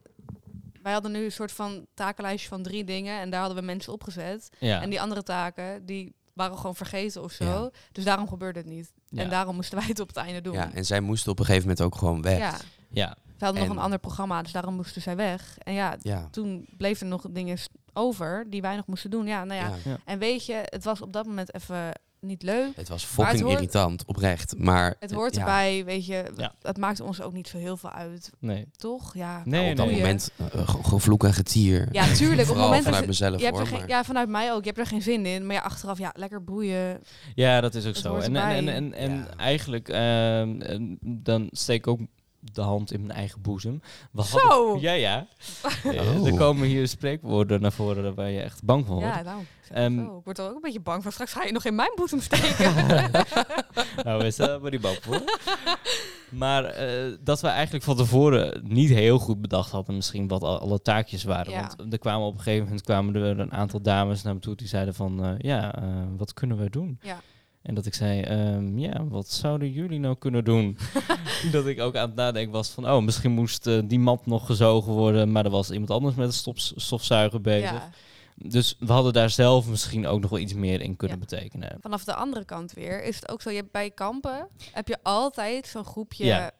[SPEAKER 1] wij hadden nu een soort van takenlijstje van drie dingen en daar hadden we mensen opgezet.
[SPEAKER 2] ja.
[SPEAKER 1] En die andere taken, die waren we gewoon vergeten of zo.
[SPEAKER 3] Ja.
[SPEAKER 1] Dus daarom gebeurde het niet.
[SPEAKER 2] ja.
[SPEAKER 1] En daarom moesten wij het op het einde doen.
[SPEAKER 3] Ja, en zij moesten op een gegeven moment ook gewoon weg.
[SPEAKER 1] Ja.
[SPEAKER 2] ja.
[SPEAKER 1] Ze hadden nog
[SPEAKER 3] En-
[SPEAKER 1] een ander programma, dus daarom moesten zij weg. En ja,
[SPEAKER 3] Ja.
[SPEAKER 1] toen bleef er nog dingen s- over die wij nog moesten doen. Ja, nou ja.
[SPEAKER 3] Ja.
[SPEAKER 1] En weet je, het was op dat moment even niet leuk.
[SPEAKER 3] Het was
[SPEAKER 1] Maar
[SPEAKER 3] fucking
[SPEAKER 1] het hoort-
[SPEAKER 3] irritant, oprecht. Maar eh,
[SPEAKER 1] Het hoort
[SPEAKER 3] ja,
[SPEAKER 1] erbij, weet je.
[SPEAKER 2] Eh, Ja.
[SPEAKER 1] Het maakt ons ook niet zo heel veel uit,
[SPEAKER 2] nee.
[SPEAKER 1] toch? Ja,
[SPEAKER 2] Nee,
[SPEAKER 3] Op dat
[SPEAKER 2] nee.
[SPEAKER 1] boeien.
[SPEAKER 3] moment eh, ge- gevloek en getier.
[SPEAKER 1] ja tuurlijk. op het
[SPEAKER 3] Vooral
[SPEAKER 1] moment dat
[SPEAKER 3] vanuit
[SPEAKER 1] je-
[SPEAKER 3] mezelf
[SPEAKER 1] je hebt
[SPEAKER 3] hoor.
[SPEAKER 1] er geen,
[SPEAKER 3] maar-
[SPEAKER 1] ja, vanuit mij ook. Je hebt er geen zin in. Maar ja, achteraf, ja, lekker boeien.
[SPEAKER 2] Ja, dat is ook
[SPEAKER 1] Dat
[SPEAKER 2] zo.
[SPEAKER 1] hoort
[SPEAKER 2] En, en,
[SPEAKER 1] erbij.
[SPEAKER 2] en, en, en
[SPEAKER 3] Ja.
[SPEAKER 2] eigenlijk, ehm, en dan steek ik ook de hand in mijn eigen boezem. We
[SPEAKER 1] Zo!
[SPEAKER 2] ja,
[SPEAKER 1] [LAUGHS]
[SPEAKER 2] ja. Eh,
[SPEAKER 3] Oh.
[SPEAKER 2] Er komen hier spreekwoorden naar voren waar je echt bang van wordt.
[SPEAKER 1] Ja, nou.
[SPEAKER 2] Ehm,
[SPEAKER 1] zo. Ik word er ook een beetje bang van. Straks ga je nog in mijn
[SPEAKER 2] [LAUGHS]
[SPEAKER 1] boezem steken.
[SPEAKER 2] Nou, we staan maar die bang voor. Maar eh, dat we eigenlijk van tevoren niet heel goed bedacht hadden misschien wat al- alle taakjes waren.
[SPEAKER 1] Ja.
[SPEAKER 2] Want er kwamen op een gegeven moment kwamen er een aantal dames naar me toe die zeiden van, eh, ja, eh, wat kunnen we doen?
[SPEAKER 1] Ja.
[SPEAKER 2] En dat ik zei, ehm, ja, wat zouden jullie nou kunnen
[SPEAKER 1] [LAUGHS]
[SPEAKER 2] doen? dat ik ook aan het nadenken was van, oh, misschien moest eh, die mat nog gezogen worden, maar er was iemand anders met een stops- stofzuiger bezig.
[SPEAKER 1] ja.
[SPEAKER 2] Dus we hadden daar zelf misschien ook nog wel iets meer in kunnen
[SPEAKER 1] Ja.
[SPEAKER 2] betekenen.
[SPEAKER 1] vanaf de andere kant weer is het ook zo. Je hebt bij kampen heb je altijd zo'n groepje.
[SPEAKER 2] Ja.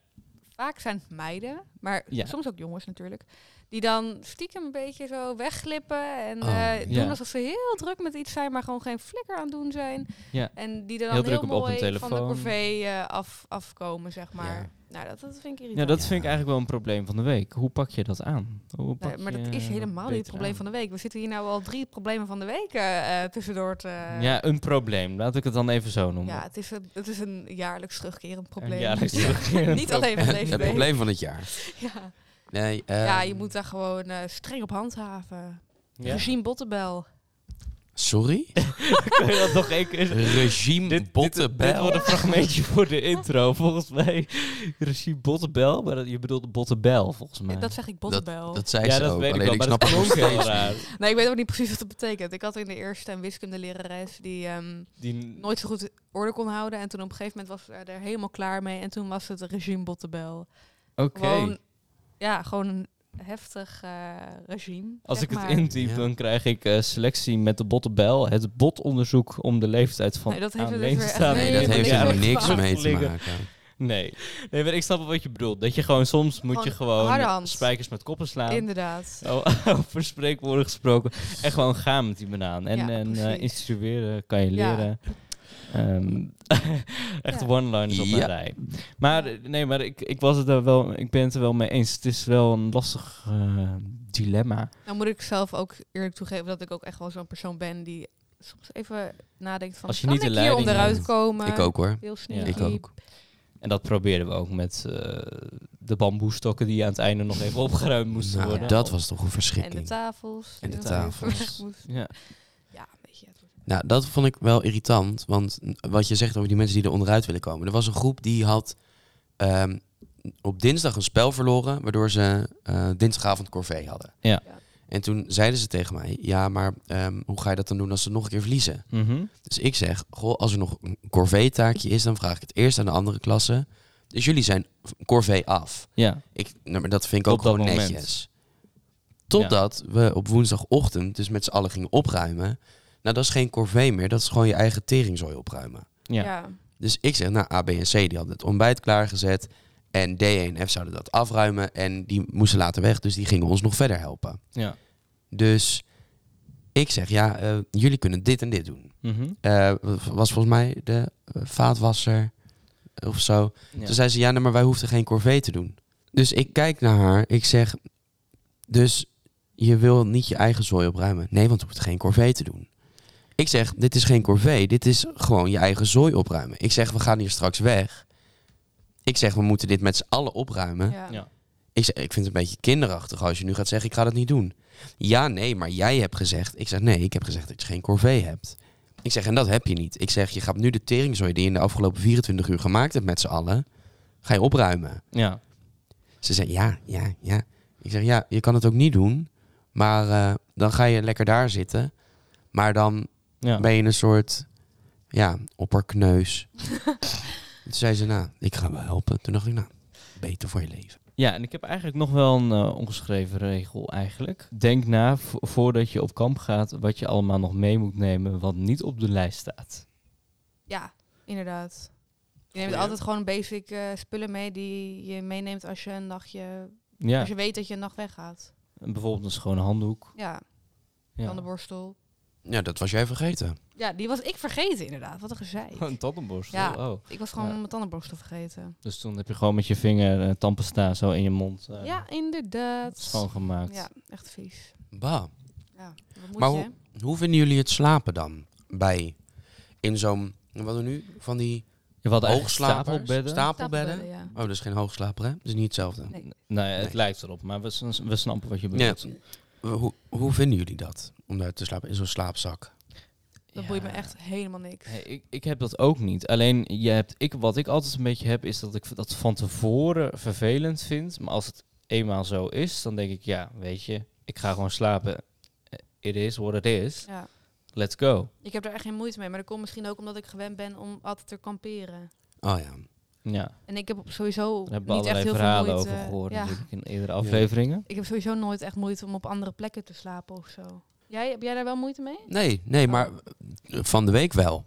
[SPEAKER 1] Vaak zijn het meiden, maar
[SPEAKER 2] Ja.
[SPEAKER 1] soms ook jongens natuurlijk. Die dan stiekem een beetje zo wegglippen en
[SPEAKER 3] Oh,
[SPEAKER 1] eh, doen
[SPEAKER 2] ja.
[SPEAKER 1] alsof ze heel druk met iets zijn, maar gewoon geen flikker aan het doen zijn.
[SPEAKER 2] Ja.
[SPEAKER 1] En die er dan heel,
[SPEAKER 2] Heel druk op- op
[SPEAKER 1] mooi
[SPEAKER 2] hun
[SPEAKER 1] van de
[SPEAKER 2] telefoon.
[SPEAKER 1] corvée eh, af, afkomen, zeg maar.
[SPEAKER 3] Ja.
[SPEAKER 1] Nou, dat, dat vind ik
[SPEAKER 2] Ja,
[SPEAKER 1] irritant.
[SPEAKER 2] dat
[SPEAKER 3] Ja.
[SPEAKER 2] vind ik eigenlijk wel een probleem van de week. Hoe pak je dat aan? Hoe
[SPEAKER 1] Nee,
[SPEAKER 2] pak
[SPEAKER 1] maar
[SPEAKER 2] je
[SPEAKER 1] dat is helemaal niet het
[SPEAKER 2] beter
[SPEAKER 1] probleem
[SPEAKER 2] aan?
[SPEAKER 1] van de week. We zitten hier nou al drie problemen van de week eh, eh, tussendoor te...
[SPEAKER 2] Ja, een probleem. Laat ik het dan even zo noemen.
[SPEAKER 1] Ja, het is een, het is een jaarlijks terugkerend
[SPEAKER 2] Een
[SPEAKER 1] probleem. [LAUGHS]
[SPEAKER 2] jaarlijks terugkerend
[SPEAKER 1] Niet
[SPEAKER 3] [LAUGHS]
[SPEAKER 1] alleen van deze
[SPEAKER 3] Het
[SPEAKER 1] week.
[SPEAKER 3] probleem van het jaar.
[SPEAKER 1] Ja.
[SPEAKER 3] Nee,
[SPEAKER 1] ja,
[SPEAKER 3] ehm,
[SPEAKER 2] [LAUGHS]
[SPEAKER 1] je moet daar gewoon eh, streng op handhaven.
[SPEAKER 2] Ja.
[SPEAKER 1] Regime Bottebel. [LAUGHS]
[SPEAKER 3] Sorry?
[SPEAKER 2] Kun je dat nog één keer...
[SPEAKER 3] Regime
[SPEAKER 2] Dit, dit, dit
[SPEAKER 3] Bottebel?
[SPEAKER 2] wordt een fragmentje [LAUGHS] voor de intro, volgens mij. Regime Bottebel, maar dat- je bedoelt Bottebel, volgens mij.
[SPEAKER 1] Dat zeg ik bottenbel.
[SPEAKER 3] dat zei
[SPEAKER 2] ja,
[SPEAKER 3] ze
[SPEAKER 2] dat
[SPEAKER 3] ook,
[SPEAKER 2] weet ik
[SPEAKER 3] alleen
[SPEAKER 2] wel,
[SPEAKER 3] ik
[SPEAKER 2] maar
[SPEAKER 3] snap
[SPEAKER 2] dat
[SPEAKER 3] het nog
[SPEAKER 2] klonk heel
[SPEAKER 3] steeds.
[SPEAKER 2] raar.
[SPEAKER 1] Nee, ik weet ook niet precies wat dat betekent. Ik had in de eerste een wiskundelerares die ehm,
[SPEAKER 2] Die,
[SPEAKER 1] nooit zo goed orde kon houden. En toen op een gegeven moment was ze er helemaal klaar mee. En toen was het regime bottenbel.
[SPEAKER 2] Oké.
[SPEAKER 1] Gewoon, ja, gewoon een heftig eh, regime.
[SPEAKER 2] Als
[SPEAKER 1] zeg
[SPEAKER 2] ik het
[SPEAKER 1] maar.
[SPEAKER 2] intyp,
[SPEAKER 3] Ja.
[SPEAKER 2] dan krijg ik eh, selectie met de bottebel. Het botonderzoek om de leeftijd van
[SPEAKER 1] Nee, dat heeft er
[SPEAKER 2] aan
[SPEAKER 1] dus weer
[SPEAKER 2] leeftijd-
[SPEAKER 1] echt
[SPEAKER 3] Nee, dat
[SPEAKER 1] Nee,
[SPEAKER 3] heeft
[SPEAKER 1] dat
[SPEAKER 3] er
[SPEAKER 1] is
[SPEAKER 3] niks
[SPEAKER 1] echt
[SPEAKER 3] mee te
[SPEAKER 2] liggen.
[SPEAKER 3] maken.
[SPEAKER 2] Nee. nee, maar ik snap wel wat je bedoelt. Dat je gewoon, soms moet je
[SPEAKER 1] Gewoon
[SPEAKER 2] gewoon
[SPEAKER 1] harde hand.
[SPEAKER 2] spijkers met koppen slaan.
[SPEAKER 1] Inderdaad.
[SPEAKER 2] Oh, [LAUGHS] over spreekwoorden gesproken. En gewoon gaan met die banaan. En,
[SPEAKER 1] Ja,
[SPEAKER 2] en eh,
[SPEAKER 1] precies.
[SPEAKER 2] instrueren kan je
[SPEAKER 1] Ja.
[SPEAKER 2] leren. Ehm, [LAUGHS] echt
[SPEAKER 1] Ja.
[SPEAKER 2] one-liners op een
[SPEAKER 3] Ja.
[SPEAKER 2] rij. Maar eh, nee, maar ik, ik was het er wel, ik ben het er wel mee eens. Het is wel een lastig eh, dilemma.
[SPEAKER 1] Nou moet ik zelf ook eerlijk toegeven dat ik ook echt wel zo'n persoon ben die soms even nadenkt van...
[SPEAKER 2] Als je
[SPEAKER 1] kan
[SPEAKER 2] niet de
[SPEAKER 1] ik hier om
[SPEAKER 2] leiding
[SPEAKER 1] eruit
[SPEAKER 2] neemt.
[SPEAKER 1] komen?
[SPEAKER 3] Ik ook hoor.
[SPEAKER 1] Heel
[SPEAKER 2] Ja.
[SPEAKER 1] sneaky.
[SPEAKER 3] Ik ook.
[SPEAKER 2] En dat probeerden we ook met eh, de bamboestokken die aan het einde nog even opgeruimd moesten
[SPEAKER 3] Nou,
[SPEAKER 2] worden.
[SPEAKER 3] dat was toch een
[SPEAKER 1] En de
[SPEAKER 3] verschrikking.
[SPEAKER 1] tafels.
[SPEAKER 3] En de
[SPEAKER 1] die nog even
[SPEAKER 3] tafels.
[SPEAKER 1] weg moesten.
[SPEAKER 2] Ja.
[SPEAKER 1] Ja, weet je. het wordt-
[SPEAKER 3] Nou, dat vond ik wel irritant. Want wat je zegt over die mensen die er onderuit willen komen. Er was een groep die had ehm, op dinsdag een spel verloren. Waardoor ze eh, dinsdagavond corvée hadden.
[SPEAKER 2] Ja.
[SPEAKER 1] Ja.
[SPEAKER 3] En toen zeiden ze tegen mij: Ja, maar ehm, hoe ga je dat dan doen als ze nog een keer verliezen?
[SPEAKER 2] Mhm.
[SPEAKER 3] Dus ik zeg: Goh, als er nog een corvée-taakje is, dan vraag ik het eerst aan de andere klasse. Dus jullie zijn corvée af.
[SPEAKER 2] ja.
[SPEAKER 3] Ik, nou, maar dat vind ik
[SPEAKER 2] Op
[SPEAKER 3] ook
[SPEAKER 2] dat
[SPEAKER 3] gewoon
[SPEAKER 2] moment.
[SPEAKER 3] netjes. Totdat we op woensdagochtend dus met z'n allen gingen opruimen. Nou, dat is geen corvée meer. Dat is gewoon je eigen teringzooi opruimen.
[SPEAKER 2] Ja.
[SPEAKER 1] Ja.
[SPEAKER 3] Dus ik zeg, nou, A, B en C die hadden het ontbijt klaargezet. En D en F zouden dat afruimen. En die moesten later weg, dus die gingen ons nog verder helpen.
[SPEAKER 2] Ja.
[SPEAKER 3] Dus ik zeg, ja, eh, jullie kunnen dit en dit doen.
[SPEAKER 2] Mhm.
[SPEAKER 3] Eh, was volgens mij de eh, vaatwasser of zo.
[SPEAKER 2] Ja.
[SPEAKER 3] Toen zei ze, ja, nee, maar wij hoefden geen corvée te doen. Dus ik kijk naar haar, ik zeg, dus je wil niet je eigen zooi opruimen. Nee, want we hoeft geen corvée te doen. Ik zeg, dit is geen corvée, dit is gewoon je eigen zooi opruimen. Ik zeg, we gaan hier straks weg. Ik zeg, we moeten dit met z'n allen opruimen.
[SPEAKER 1] Ja.
[SPEAKER 2] Ja.
[SPEAKER 3] Ik, zeg, ik vind het een beetje kinderachtig als je nu gaat zeggen, ik ga dat niet doen. Ja, nee, maar jij hebt gezegd. Ik zeg, nee, ik heb gezegd dat je geen corvée hebt. Ik zeg, en dat heb je niet. Ik zeg, je gaat nu de teringzooi die je in de afgelopen 24 uur gemaakt hebt met z'n allen, ga je opruimen.
[SPEAKER 2] ja.
[SPEAKER 3] Ze zei, ja, ja, ja. Ik zeg, ja, je kan het ook niet doen, maar eh, dan ga je lekker daar zitten. Maar dan
[SPEAKER 2] Ja.
[SPEAKER 3] ben je een soort, ja, opperkneus. Toen zei ze, nou, ik ga wel helpen. Toen dacht ik, nou, beter voor je leven.
[SPEAKER 2] Ja, en ik heb eigenlijk nog wel een eh, ongeschreven regel eigenlijk. Denk na vo- voordat je op kamp gaat wat je allemaal nog mee moet nemen wat niet op de lijst staat.
[SPEAKER 1] Ja, inderdaad. Je neemt
[SPEAKER 3] Goeie.
[SPEAKER 1] altijd gewoon basic eh, spullen mee die je meeneemt als je een nachtje...
[SPEAKER 2] Ja,
[SPEAKER 1] Als je weet dat je een nacht weggaat.
[SPEAKER 2] bijvoorbeeld een schone handdoek.
[SPEAKER 1] Ja,
[SPEAKER 2] Ja.
[SPEAKER 1] tandenborstel.
[SPEAKER 3] Ja, dat was jij vergeten.
[SPEAKER 1] Ja, die was ik vergeten inderdaad. Wat een
[SPEAKER 3] [LAUGHS]
[SPEAKER 1] gezeik.
[SPEAKER 2] [LAUGHS] Een tandenborstel.
[SPEAKER 1] Ja.
[SPEAKER 2] Oh.
[SPEAKER 1] Ik was gewoon
[SPEAKER 2] Ja.
[SPEAKER 1] mijn tandenborstel vergeten.
[SPEAKER 2] Dus toen heb je gewoon met je vinger eh, tandpasta zo in je mond eh,
[SPEAKER 1] ja, inderdaad.
[SPEAKER 2] schoongemaakt.
[SPEAKER 1] Ja, echt vies.
[SPEAKER 3] Bah.
[SPEAKER 1] Ja, wat moet
[SPEAKER 3] Maar
[SPEAKER 1] je?
[SPEAKER 3] hoe- Hoe vinden jullie het slapen dan? Bij in zo'n, wat hadden we nu? Van die
[SPEAKER 2] Je had eigenlijk
[SPEAKER 3] hoogslapers?
[SPEAKER 2] stapelbedden.
[SPEAKER 3] Stapelbedden?
[SPEAKER 1] Stapelbedden, ja.
[SPEAKER 3] Oh, dat is geen hoogslaper, hè? Dat is niet hetzelfde.
[SPEAKER 1] Nee.
[SPEAKER 2] Nou ja, het
[SPEAKER 3] Nee.
[SPEAKER 2] lijkt erop, maar we, s- we snappen wat je
[SPEAKER 3] Ja.
[SPEAKER 2] bedoelt.
[SPEAKER 3] Eh, Hoe, hoe vinden jullie dat? Om daar te slapen in zo'n slaapzak?
[SPEAKER 1] Dat
[SPEAKER 2] Ja.
[SPEAKER 1] boeit me echt helemaal niks.
[SPEAKER 2] Nee, ik, ik heb dat ook niet. Alleen je hebt, ik, wat ik altijd een beetje heb, is dat ik dat van tevoren vervelend vind. Maar als het eenmaal zo is, dan denk ik, ja, weet je, ik ga gewoon slapen. Eh, It is what it is.
[SPEAKER 1] Ja.
[SPEAKER 2] Let's go.
[SPEAKER 1] Ik heb daar echt geen moeite mee. Maar dat komt misschien ook omdat ik gewend ben om altijd te kamperen.
[SPEAKER 3] Oh ja.
[SPEAKER 2] Ja,
[SPEAKER 1] En ik heb op sowieso
[SPEAKER 2] daar hebben we
[SPEAKER 1] niet echt
[SPEAKER 2] allerlei
[SPEAKER 1] heel veel
[SPEAKER 2] verhalen
[SPEAKER 1] moeite.
[SPEAKER 2] over gehoord
[SPEAKER 1] ja.
[SPEAKER 2] natuurlijk in eerdere afleveringen.
[SPEAKER 1] Ik heb sowieso nooit echt moeite om op andere plekken te slapen of zo. Jij, heb jij daar wel moeite mee?
[SPEAKER 3] Nee, nee, maar eh, van de week wel.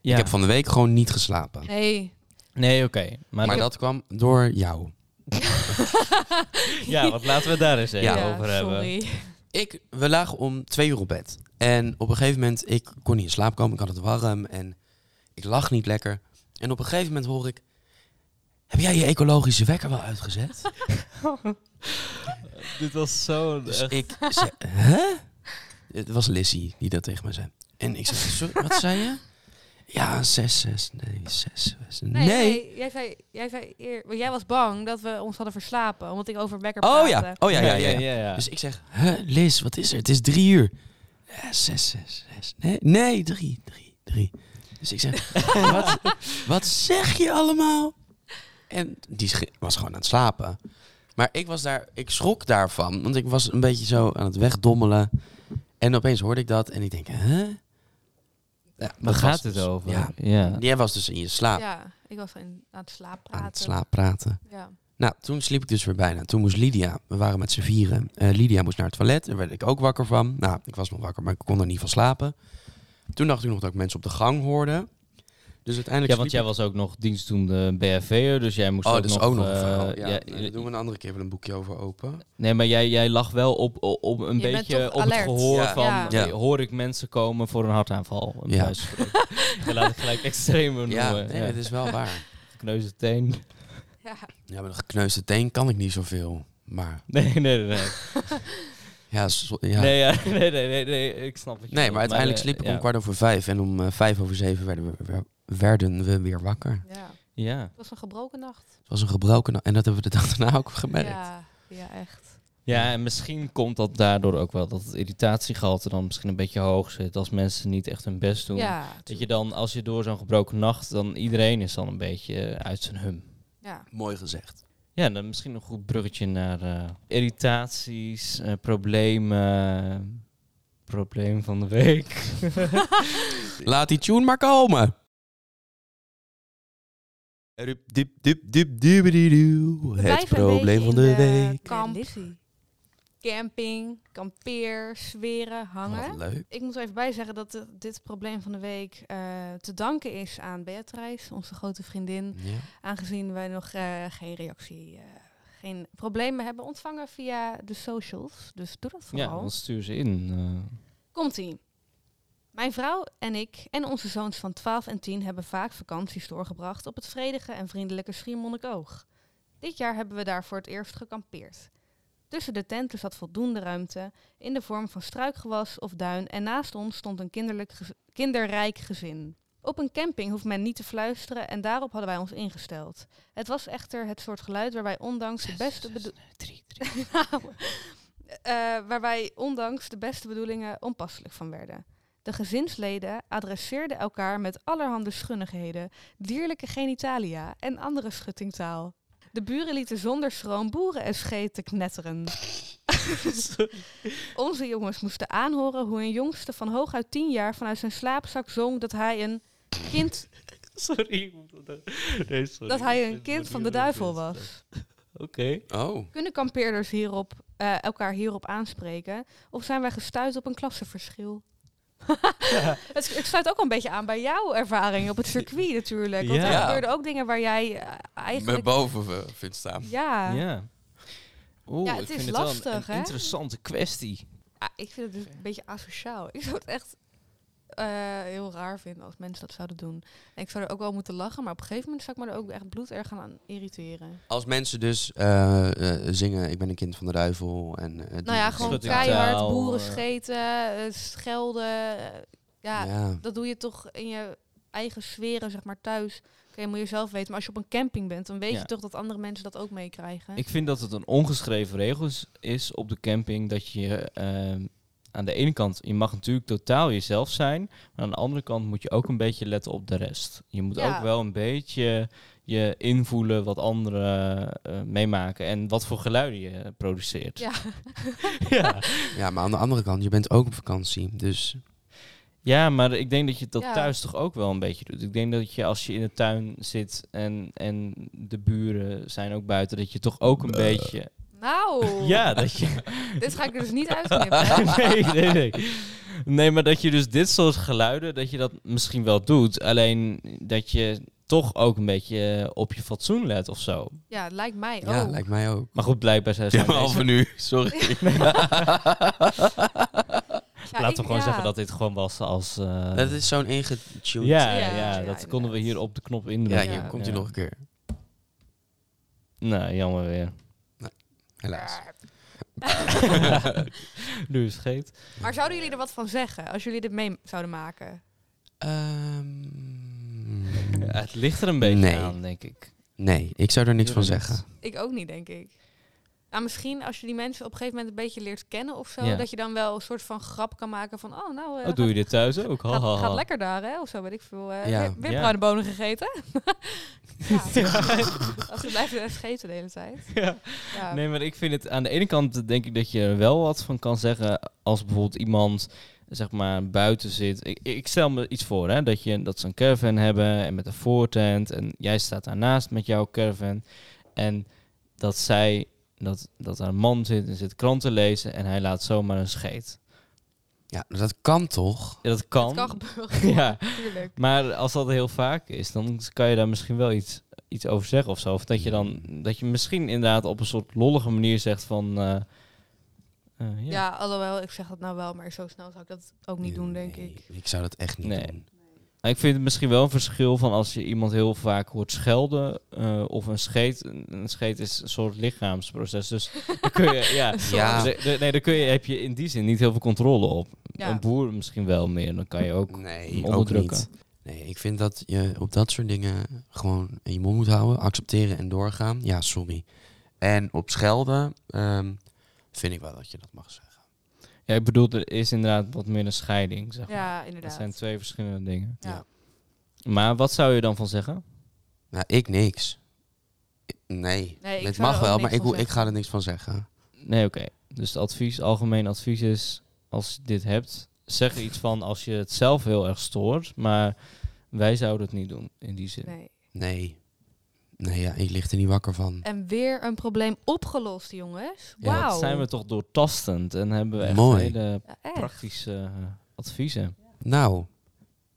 [SPEAKER 2] Ja.
[SPEAKER 3] Ik heb van de week gewoon niet geslapen.
[SPEAKER 1] Nee.
[SPEAKER 2] Nee, oké. Maar,
[SPEAKER 3] Maar, dat kwam door jou.
[SPEAKER 2] ja, want laten we het daar eens even
[SPEAKER 3] Ja,
[SPEAKER 2] over hebben.
[SPEAKER 1] Sorry.
[SPEAKER 3] Ik, we lagen om twee uur op bed. En op een gegeven moment, ik kon niet in slaap komen. Ik had het warm en ik lag niet lekker. En op een gegeven moment hoor ik... Heb jij je ecologische wekker wel uitgezet?
[SPEAKER 2] Dit was zo...
[SPEAKER 3] Dus
[SPEAKER 2] echt-
[SPEAKER 3] ik zei, hè? Het was Lissy die dat tegen me zei. En ik zei, sorry, wat zei je? Ja, 6, 6, nee, 6, 6. Nee.
[SPEAKER 1] Nee, nee, jij, zei, jij, zei eer, maar jij was bang dat we ons hadden verslapen. Omdat ik over wekker
[SPEAKER 3] Oh
[SPEAKER 1] praatte.
[SPEAKER 3] ja, oh ja, ja, ja. ja.
[SPEAKER 2] ja.
[SPEAKER 3] Dus ik zeg, hè, Liz, wat is er? Het is drie uur. Ja, zes, zes, zes. Nee, nee, drie, drie, drie. Dus ik zeg, [LAUGHS] wat, wat zeg je allemaal? En die schi- was gewoon aan het slapen. Maar ik was daar, ik schrok daarvan, want ik was een beetje zo aan het wegdommelen. En opeens hoorde ik dat en ik denk, hè? Ja,
[SPEAKER 2] Waar
[SPEAKER 3] dat was
[SPEAKER 2] gaat het
[SPEAKER 3] dus-
[SPEAKER 2] over?
[SPEAKER 3] Ja,
[SPEAKER 2] ja.
[SPEAKER 3] jij was dus in je slaap
[SPEAKER 1] Ja, ik was in, aan het slaap praten.
[SPEAKER 3] aan het slaap praten.
[SPEAKER 1] Ja. [LAUGHS]
[SPEAKER 3] Nou, toen sliep ik dus weer bijna. Toen moest Lydia, we waren met z'n vieren. Eh, Lydia moest naar het toilet, daar werd ik ook wakker van. Nou, ik was nog wakker, maar ik kon er niet van slapen. Toen dacht ik nog dat ik mensen op de gang hoorde. Dus uiteindelijk.
[SPEAKER 2] Ja, want jij
[SPEAKER 3] sliep ik-
[SPEAKER 2] was ook nog dienstdoende BHV'er, dus jij moest
[SPEAKER 3] Oh,
[SPEAKER 2] ook
[SPEAKER 3] dat is
[SPEAKER 2] nog...
[SPEAKER 3] ook nog een
[SPEAKER 2] eh,
[SPEAKER 3] verhaal. Ja,
[SPEAKER 2] ja,
[SPEAKER 3] nee, daar doen we een andere keer wel een boekje over open.
[SPEAKER 2] nee, maar jij, jij lag wel op, op, op een
[SPEAKER 1] Je bent
[SPEAKER 2] beetje
[SPEAKER 1] toch
[SPEAKER 2] op het
[SPEAKER 1] alert?
[SPEAKER 2] gehoor
[SPEAKER 3] Ja.
[SPEAKER 2] van...
[SPEAKER 1] Ja.
[SPEAKER 3] Ja.
[SPEAKER 2] hoor ik mensen komen voor een hartaanval?
[SPEAKER 3] Ja.
[SPEAKER 2] Ja. laat [LAUGHS] ik gelijk extremer
[SPEAKER 3] Ja,
[SPEAKER 2] noemen.
[SPEAKER 3] nee, dus-
[SPEAKER 2] ja.
[SPEAKER 3] dat is wel waar.
[SPEAKER 2] Kneuze teen. [LAUGHS]
[SPEAKER 1] Ja.
[SPEAKER 3] Ja, met een gekneusde teen kan ik niet zoveel. Maar
[SPEAKER 2] Nee, nee, nee. Nee,
[SPEAKER 3] ja, zo- ja. Nee,
[SPEAKER 2] nee, ja, [LAUGHS] nee, nee, nee, nee, ik snap het.
[SPEAKER 3] maar
[SPEAKER 2] eh,
[SPEAKER 3] uiteindelijk sliep ik om kwart over vijf. En om eh, vijf over zeven werden we, we- werden we weer wakker.
[SPEAKER 1] ja,
[SPEAKER 2] Ja.
[SPEAKER 1] het was een gebroken nacht.
[SPEAKER 3] Het was een gebroken. na- En dat hebben we de dag daarna ook gemerkt.
[SPEAKER 1] Ja, ja, echt.
[SPEAKER 2] ja, en misschien komt dat daardoor ook wel dat het irritatiegehalte dan misschien een beetje hoog zit als mensen niet echt hun best doen.
[SPEAKER 1] Ja,
[SPEAKER 2] Dat je dan, als je door zo'n gebroken nacht, dan iedereen is dan een beetje eh, uit zijn hum.
[SPEAKER 1] ja.
[SPEAKER 3] Mooi gezegd.
[SPEAKER 2] Ja, dan misschien een goed bruggetje naar eh, irritaties, eh, problemen, probleem van de week.
[SPEAKER 3] Laat die tune maar komen. Rup, dip, dip, dip, dibbididoe. Het
[SPEAKER 1] Blijf een
[SPEAKER 3] probleem
[SPEAKER 1] beetje
[SPEAKER 3] van
[SPEAKER 1] in
[SPEAKER 3] de week.
[SPEAKER 1] Kamp,
[SPEAKER 4] Lizzie.
[SPEAKER 1] camping, kampeer, zweren, hangen.
[SPEAKER 3] Wat leuk.
[SPEAKER 1] Ik moet er even bij zeggen dat eh, dit probleem van de week eh, te danken is aan Beatrice, onze grote vriendin.
[SPEAKER 3] Ja.
[SPEAKER 1] Aangezien wij nog eh, geen reactie, eh, geen problemen hebben ontvangen via de socials. Dus doe dat
[SPEAKER 2] [LAUGHS] Ja,
[SPEAKER 1] vooral.
[SPEAKER 2] dan stuur ze in. eh.
[SPEAKER 1] Komt-ie. Mijn vrouw en ik en onze zoons van 12 en 10 hebben vaak vakanties doorgebracht op het vredige en vriendelijke Schiermonnikoog. Dit jaar hebben we daar voor het eerst gekampeerd. Tussen de tenten zat voldoende ruimte in de vorm van struikgewas of duin en naast ons stond een kinderlijk gez- kinderrijk gezin. Op een camping hoeft men niet te fluisteren en daarop hadden wij ons ingesteld. Het was echter het soort geluid waarbij ondanks de beste bedo- [LAUGHS] nou, eh, waar wij ondanks de beste bedoelingen onpasselijk van werden. De gezinsleden adresseerden elkaar met allerhande schunnigheden, dierlijke genitalia en andere schuttingtaal. De buren lieten zonder schroom boeren en te knetteren. Onze jongens moesten aanhoren hoe een jongste van hooguit 10 jaar vanuit zijn slaapzak zong dat hij een kind,
[SPEAKER 2] [LAUGHS] Sorry. Nee, sorry.
[SPEAKER 1] dat hij een kind van de duivel was.
[SPEAKER 2] Oké.
[SPEAKER 3] Oh.
[SPEAKER 1] Kunnen kampeerders hierop, eh, elkaar hierop aanspreken? Of zijn wij gestuurd op een klassenverschil? [LAUGHS] het, het sluit ook een beetje aan bij jouw ervaring op het circuit natuurlijk. Want
[SPEAKER 2] Ja.
[SPEAKER 1] daar gebeurden ook dingen waar jij eh,
[SPEAKER 3] Eigenlijk...
[SPEAKER 1] eigenlijk...
[SPEAKER 3] boven eh, vindt staan.
[SPEAKER 1] Ja. Ja.
[SPEAKER 2] Ja. Oeh,
[SPEAKER 1] Ja,
[SPEAKER 2] ik
[SPEAKER 1] het
[SPEAKER 2] vind
[SPEAKER 1] is
[SPEAKER 2] het wel een-
[SPEAKER 1] lastig,
[SPEAKER 2] een
[SPEAKER 1] hè?
[SPEAKER 2] interessante kwestie.
[SPEAKER 1] ik vind het dus een beetje asociaal. Ik zou het echt eh, heel raar vinden als mensen dat zouden doen. En ik zou er ook wel moeten lachen, maar op een gegeven moment zou ik me er ook echt bloederg gaan aan irriteren.
[SPEAKER 3] Als mensen dus eh, eh, zingen Ik ben een kind van de duivel. En, eh, die-
[SPEAKER 1] Nou ja, gewoon
[SPEAKER 2] Schuttingtaal,
[SPEAKER 1] keihard boeren
[SPEAKER 2] eh.
[SPEAKER 1] scheten, eh, schelden. eh, ja,
[SPEAKER 3] Ja.
[SPEAKER 1] dat doe je toch in je eigen sferen, zeg maar thuis. Oké, moet je zelf weten. Maar als je op een camping bent, dan weet
[SPEAKER 2] Ja.
[SPEAKER 1] je toch dat andere mensen dat ook meekrijgen.
[SPEAKER 2] Ik vind dat het een ongeschreven regel is- is op de camping dat je ehm, aan de ene kant, je mag natuurlijk totaal jezelf zijn, maar aan de andere kant moet je ook een beetje letten op de rest. Je moet
[SPEAKER 1] Ja.
[SPEAKER 2] ook wel een beetje je invoelen wat anderen eh, meemaken en wat voor geluiden je produceert.
[SPEAKER 1] Ja.
[SPEAKER 2] [LAUGHS] ja.
[SPEAKER 3] ja, maar aan de andere kant, je bent ook op vakantie. Dus
[SPEAKER 2] Ja, maar ik denk dat je dat
[SPEAKER 1] Ja.
[SPEAKER 2] thuis toch ook wel een beetje doet. Ik denk dat je als je in de tuin zit en, en de buren zijn ook buiten, dat je toch ook een beetje.
[SPEAKER 1] Nou,
[SPEAKER 2] [LAUGHS] Ja, dat je.
[SPEAKER 1] dit ga ik er dus niet
[SPEAKER 2] [LAUGHS]
[SPEAKER 1] uitknippen. hè?
[SPEAKER 2] nee, nee, nee. Nee, maar dat je dus dit soort geluiden, dat je dat misschien wel doet. Alleen dat je toch ook een beetje eh, op je fatsoen let of zo.
[SPEAKER 1] ja, het lijkt mij ook.
[SPEAKER 3] ja, lijkt mij ook.
[SPEAKER 2] Maar goed, blijkbaar zijn ze.
[SPEAKER 3] Ja,
[SPEAKER 2] aan
[SPEAKER 3] halve
[SPEAKER 2] deze-
[SPEAKER 3] nu. Sorry.
[SPEAKER 1] Ja,
[SPEAKER 2] Laten
[SPEAKER 1] ik-
[SPEAKER 2] we gewoon
[SPEAKER 1] ja.
[SPEAKER 2] zeggen dat dit gewoon was als. eh,
[SPEAKER 3] Dat is zo'n ingetuned.
[SPEAKER 2] ja, ja,
[SPEAKER 1] Ja, ja,
[SPEAKER 2] dat konden we
[SPEAKER 1] inderdaad.
[SPEAKER 2] hier op de knop
[SPEAKER 3] Ja,
[SPEAKER 2] indrukken.
[SPEAKER 3] hier
[SPEAKER 1] Ja.
[SPEAKER 3] komt hij
[SPEAKER 2] Ja.
[SPEAKER 3] nog een keer.
[SPEAKER 2] Nou, jammer
[SPEAKER 1] [LAUGHS]
[SPEAKER 2] weer.
[SPEAKER 3] Helaas.
[SPEAKER 2] nu is het geet.
[SPEAKER 1] Maar zouden jullie er wat van zeggen als jullie dit mee zouden maken?
[SPEAKER 3] Ehm, [LAUGHS]
[SPEAKER 2] Ja, het ligt er een beetje
[SPEAKER 3] Nee.
[SPEAKER 2] aan, denk ik.
[SPEAKER 3] nee, ik zou er niks van
[SPEAKER 2] Jurgen,
[SPEAKER 3] zeggen.
[SPEAKER 1] Ik ook niet, denk ik. ah, misschien als je die mensen op een gegeven moment een beetje leert kennen of zo,
[SPEAKER 2] Ja.
[SPEAKER 1] dat je dan wel een soort van grap kan maken van, oh nou, eh,
[SPEAKER 2] Oh, doe je dit thuis ook? Ha,
[SPEAKER 1] gaat,
[SPEAKER 2] ha,
[SPEAKER 1] gaat,
[SPEAKER 2] ha.
[SPEAKER 1] gaat lekker daar hè, of zo, weet ik veel. eh,
[SPEAKER 3] Ja.
[SPEAKER 1] weer weer
[SPEAKER 2] Ja.
[SPEAKER 1] bruine bonen gegeten. ja, als ze blijven scheten de hele tijd.
[SPEAKER 2] Ja.
[SPEAKER 1] Ja.
[SPEAKER 2] Nee, maar ik vind het aan de ene kant denk ik dat je er wel wat van kan zeggen als bijvoorbeeld iemand zeg maar buiten zit. Ik, ik stel me iets voor hè, dat, je, dat ze een caravan hebben en met een voortent en jij staat daarnaast met jouw caravan en dat zij dat, dat daar een man zit en zit kranten lezen en hij laat zomaar een scheet.
[SPEAKER 3] Ja, maar dat kan toch?
[SPEAKER 2] Ja, dat kan.
[SPEAKER 1] Het
[SPEAKER 2] [LAUGHS]
[SPEAKER 1] kan gebeuren,
[SPEAKER 2] Ja.
[SPEAKER 1] natuurlijk.
[SPEAKER 2] Maar als dat heel vaak is, dan kan je daar misschien wel iets, iets over zeggen of zo. Of dat je dan dat je misschien inderdaad op een soort lollige manier zegt van. eh, eh, ja.
[SPEAKER 1] Ja. alhoewel, ik zeg dat nou wel, maar zo snel zou ik dat ook niet doen, denk
[SPEAKER 3] Nee,
[SPEAKER 1] ik.
[SPEAKER 3] Ik zou dat echt niet
[SPEAKER 1] [LAUGHS]
[SPEAKER 2] Nee.
[SPEAKER 3] doen.
[SPEAKER 2] Maar Ik vind het misschien wel een verschil van als je iemand heel vaak hoort schelden eh, of een scheet. Een een scheet is een soort
[SPEAKER 1] [LAUGHS]
[SPEAKER 2] lichaamsproces. Dus dan kun je, ja,
[SPEAKER 3] Ja.
[SPEAKER 2] Dus, eh, nee, daar kun je, heb je in die zin niet heel veel controle op.
[SPEAKER 1] Ja.
[SPEAKER 2] Een boer misschien wel meer, dan kan je ook.
[SPEAKER 3] Nee, ook
[SPEAKER 2] onderdrukken.
[SPEAKER 3] niet. Nee, ik vind dat je op dat soort dingen gewoon je mond moet houden, accepteren en doorgaan. Ja, sorry. En op schelden ehm, vind ik wel dat je dat mag zeggen.
[SPEAKER 2] Ja, ik bedoel, er is inderdaad wat meer een scheiding. Zeg maar.
[SPEAKER 1] Ja,
[SPEAKER 2] Dat
[SPEAKER 1] inderdaad.
[SPEAKER 2] zijn twee verschillende dingen.
[SPEAKER 1] Ja.
[SPEAKER 2] Maar wat zou je dan van zeggen?
[SPEAKER 3] Nou, ik niks. Ik- Nee,
[SPEAKER 1] Nee, ik
[SPEAKER 3] het
[SPEAKER 1] zou
[SPEAKER 3] mag
[SPEAKER 1] er ook
[SPEAKER 3] wel, maar
[SPEAKER 1] niks
[SPEAKER 3] ik,
[SPEAKER 1] van
[SPEAKER 3] hoe- ik ga er niks van zeggen.
[SPEAKER 2] Nee, oké. Dus het advies, algemeen advies is, als je dit hebt, zeg er iets van als je het zelf heel erg stoort, maar wij zouden het niet doen in die zin.
[SPEAKER 1] Nee.
[SPEAKER 3] Nee. Nee, ja, ik lig er niet wakker van.
[SPEAKER 1] En weer een probleem opgelost, jongens.
[SPEAKER 3] Ja,
[SPEAKER 1] Wauw.
[SPEAKER 3] dat
[SPEAKER 2] Dat zijn we toch doortastend en hebben we echt
[SPEAKER 3] Mooi.
[SPEAKER 2] hele
[SPEAKER 1] Ja, echt.
[SPEAKER 2] praktische eh, adviezen.
[SPEAKER 3] Nou,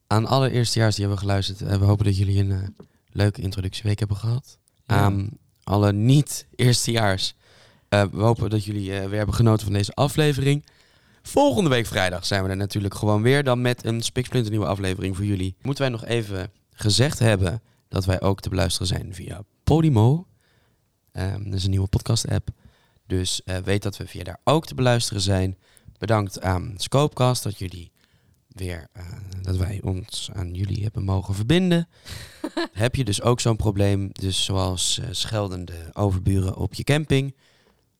[SPEAKER 3] aan alle eerstejaars die hebben geluisterd, eh, we hopen dat jullie een eh, leuke introductieweek hebben gehad. Aan Ehm, alle niet-eerstejaars, eh, we hopen dat jullie eh, weer hebben genoten van deze aflevering. Volgende week vrijdag zijn we er natuurlijk gewoon weer, dan met een spiksplinter nieuwe aflevering voor jullie. Moeten wij nog even gezegd hebben dat wij ook te beluisteren zijn via Podimo. Ehm, dat is een nieuwe podcast-app. Dus eh, weet dat we via daar ook te beluisteren zijn. Bedankt aan Scopecast dat jullie weer eh, dat wij ons aan jullie hebben mogen verbinden. [LAUGHS] Heb je dus ook zo'n probleem, dus zoals eh, scheldende overburen op je camping?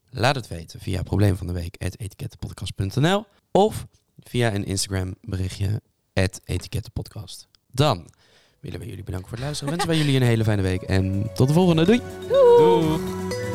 [SPEAKER 3] Laat het weten via probleem van de week etikettenpodcast.nl of via een Instagram berichtje etikettenpodcast. Dan willen we jullie bedanken voor het luisteren. Wensen wij jullie een hele fijne week en tot de volgende. Doei!
[SPEAKER 1] Doei.
[SPEAKER 2] Doeg!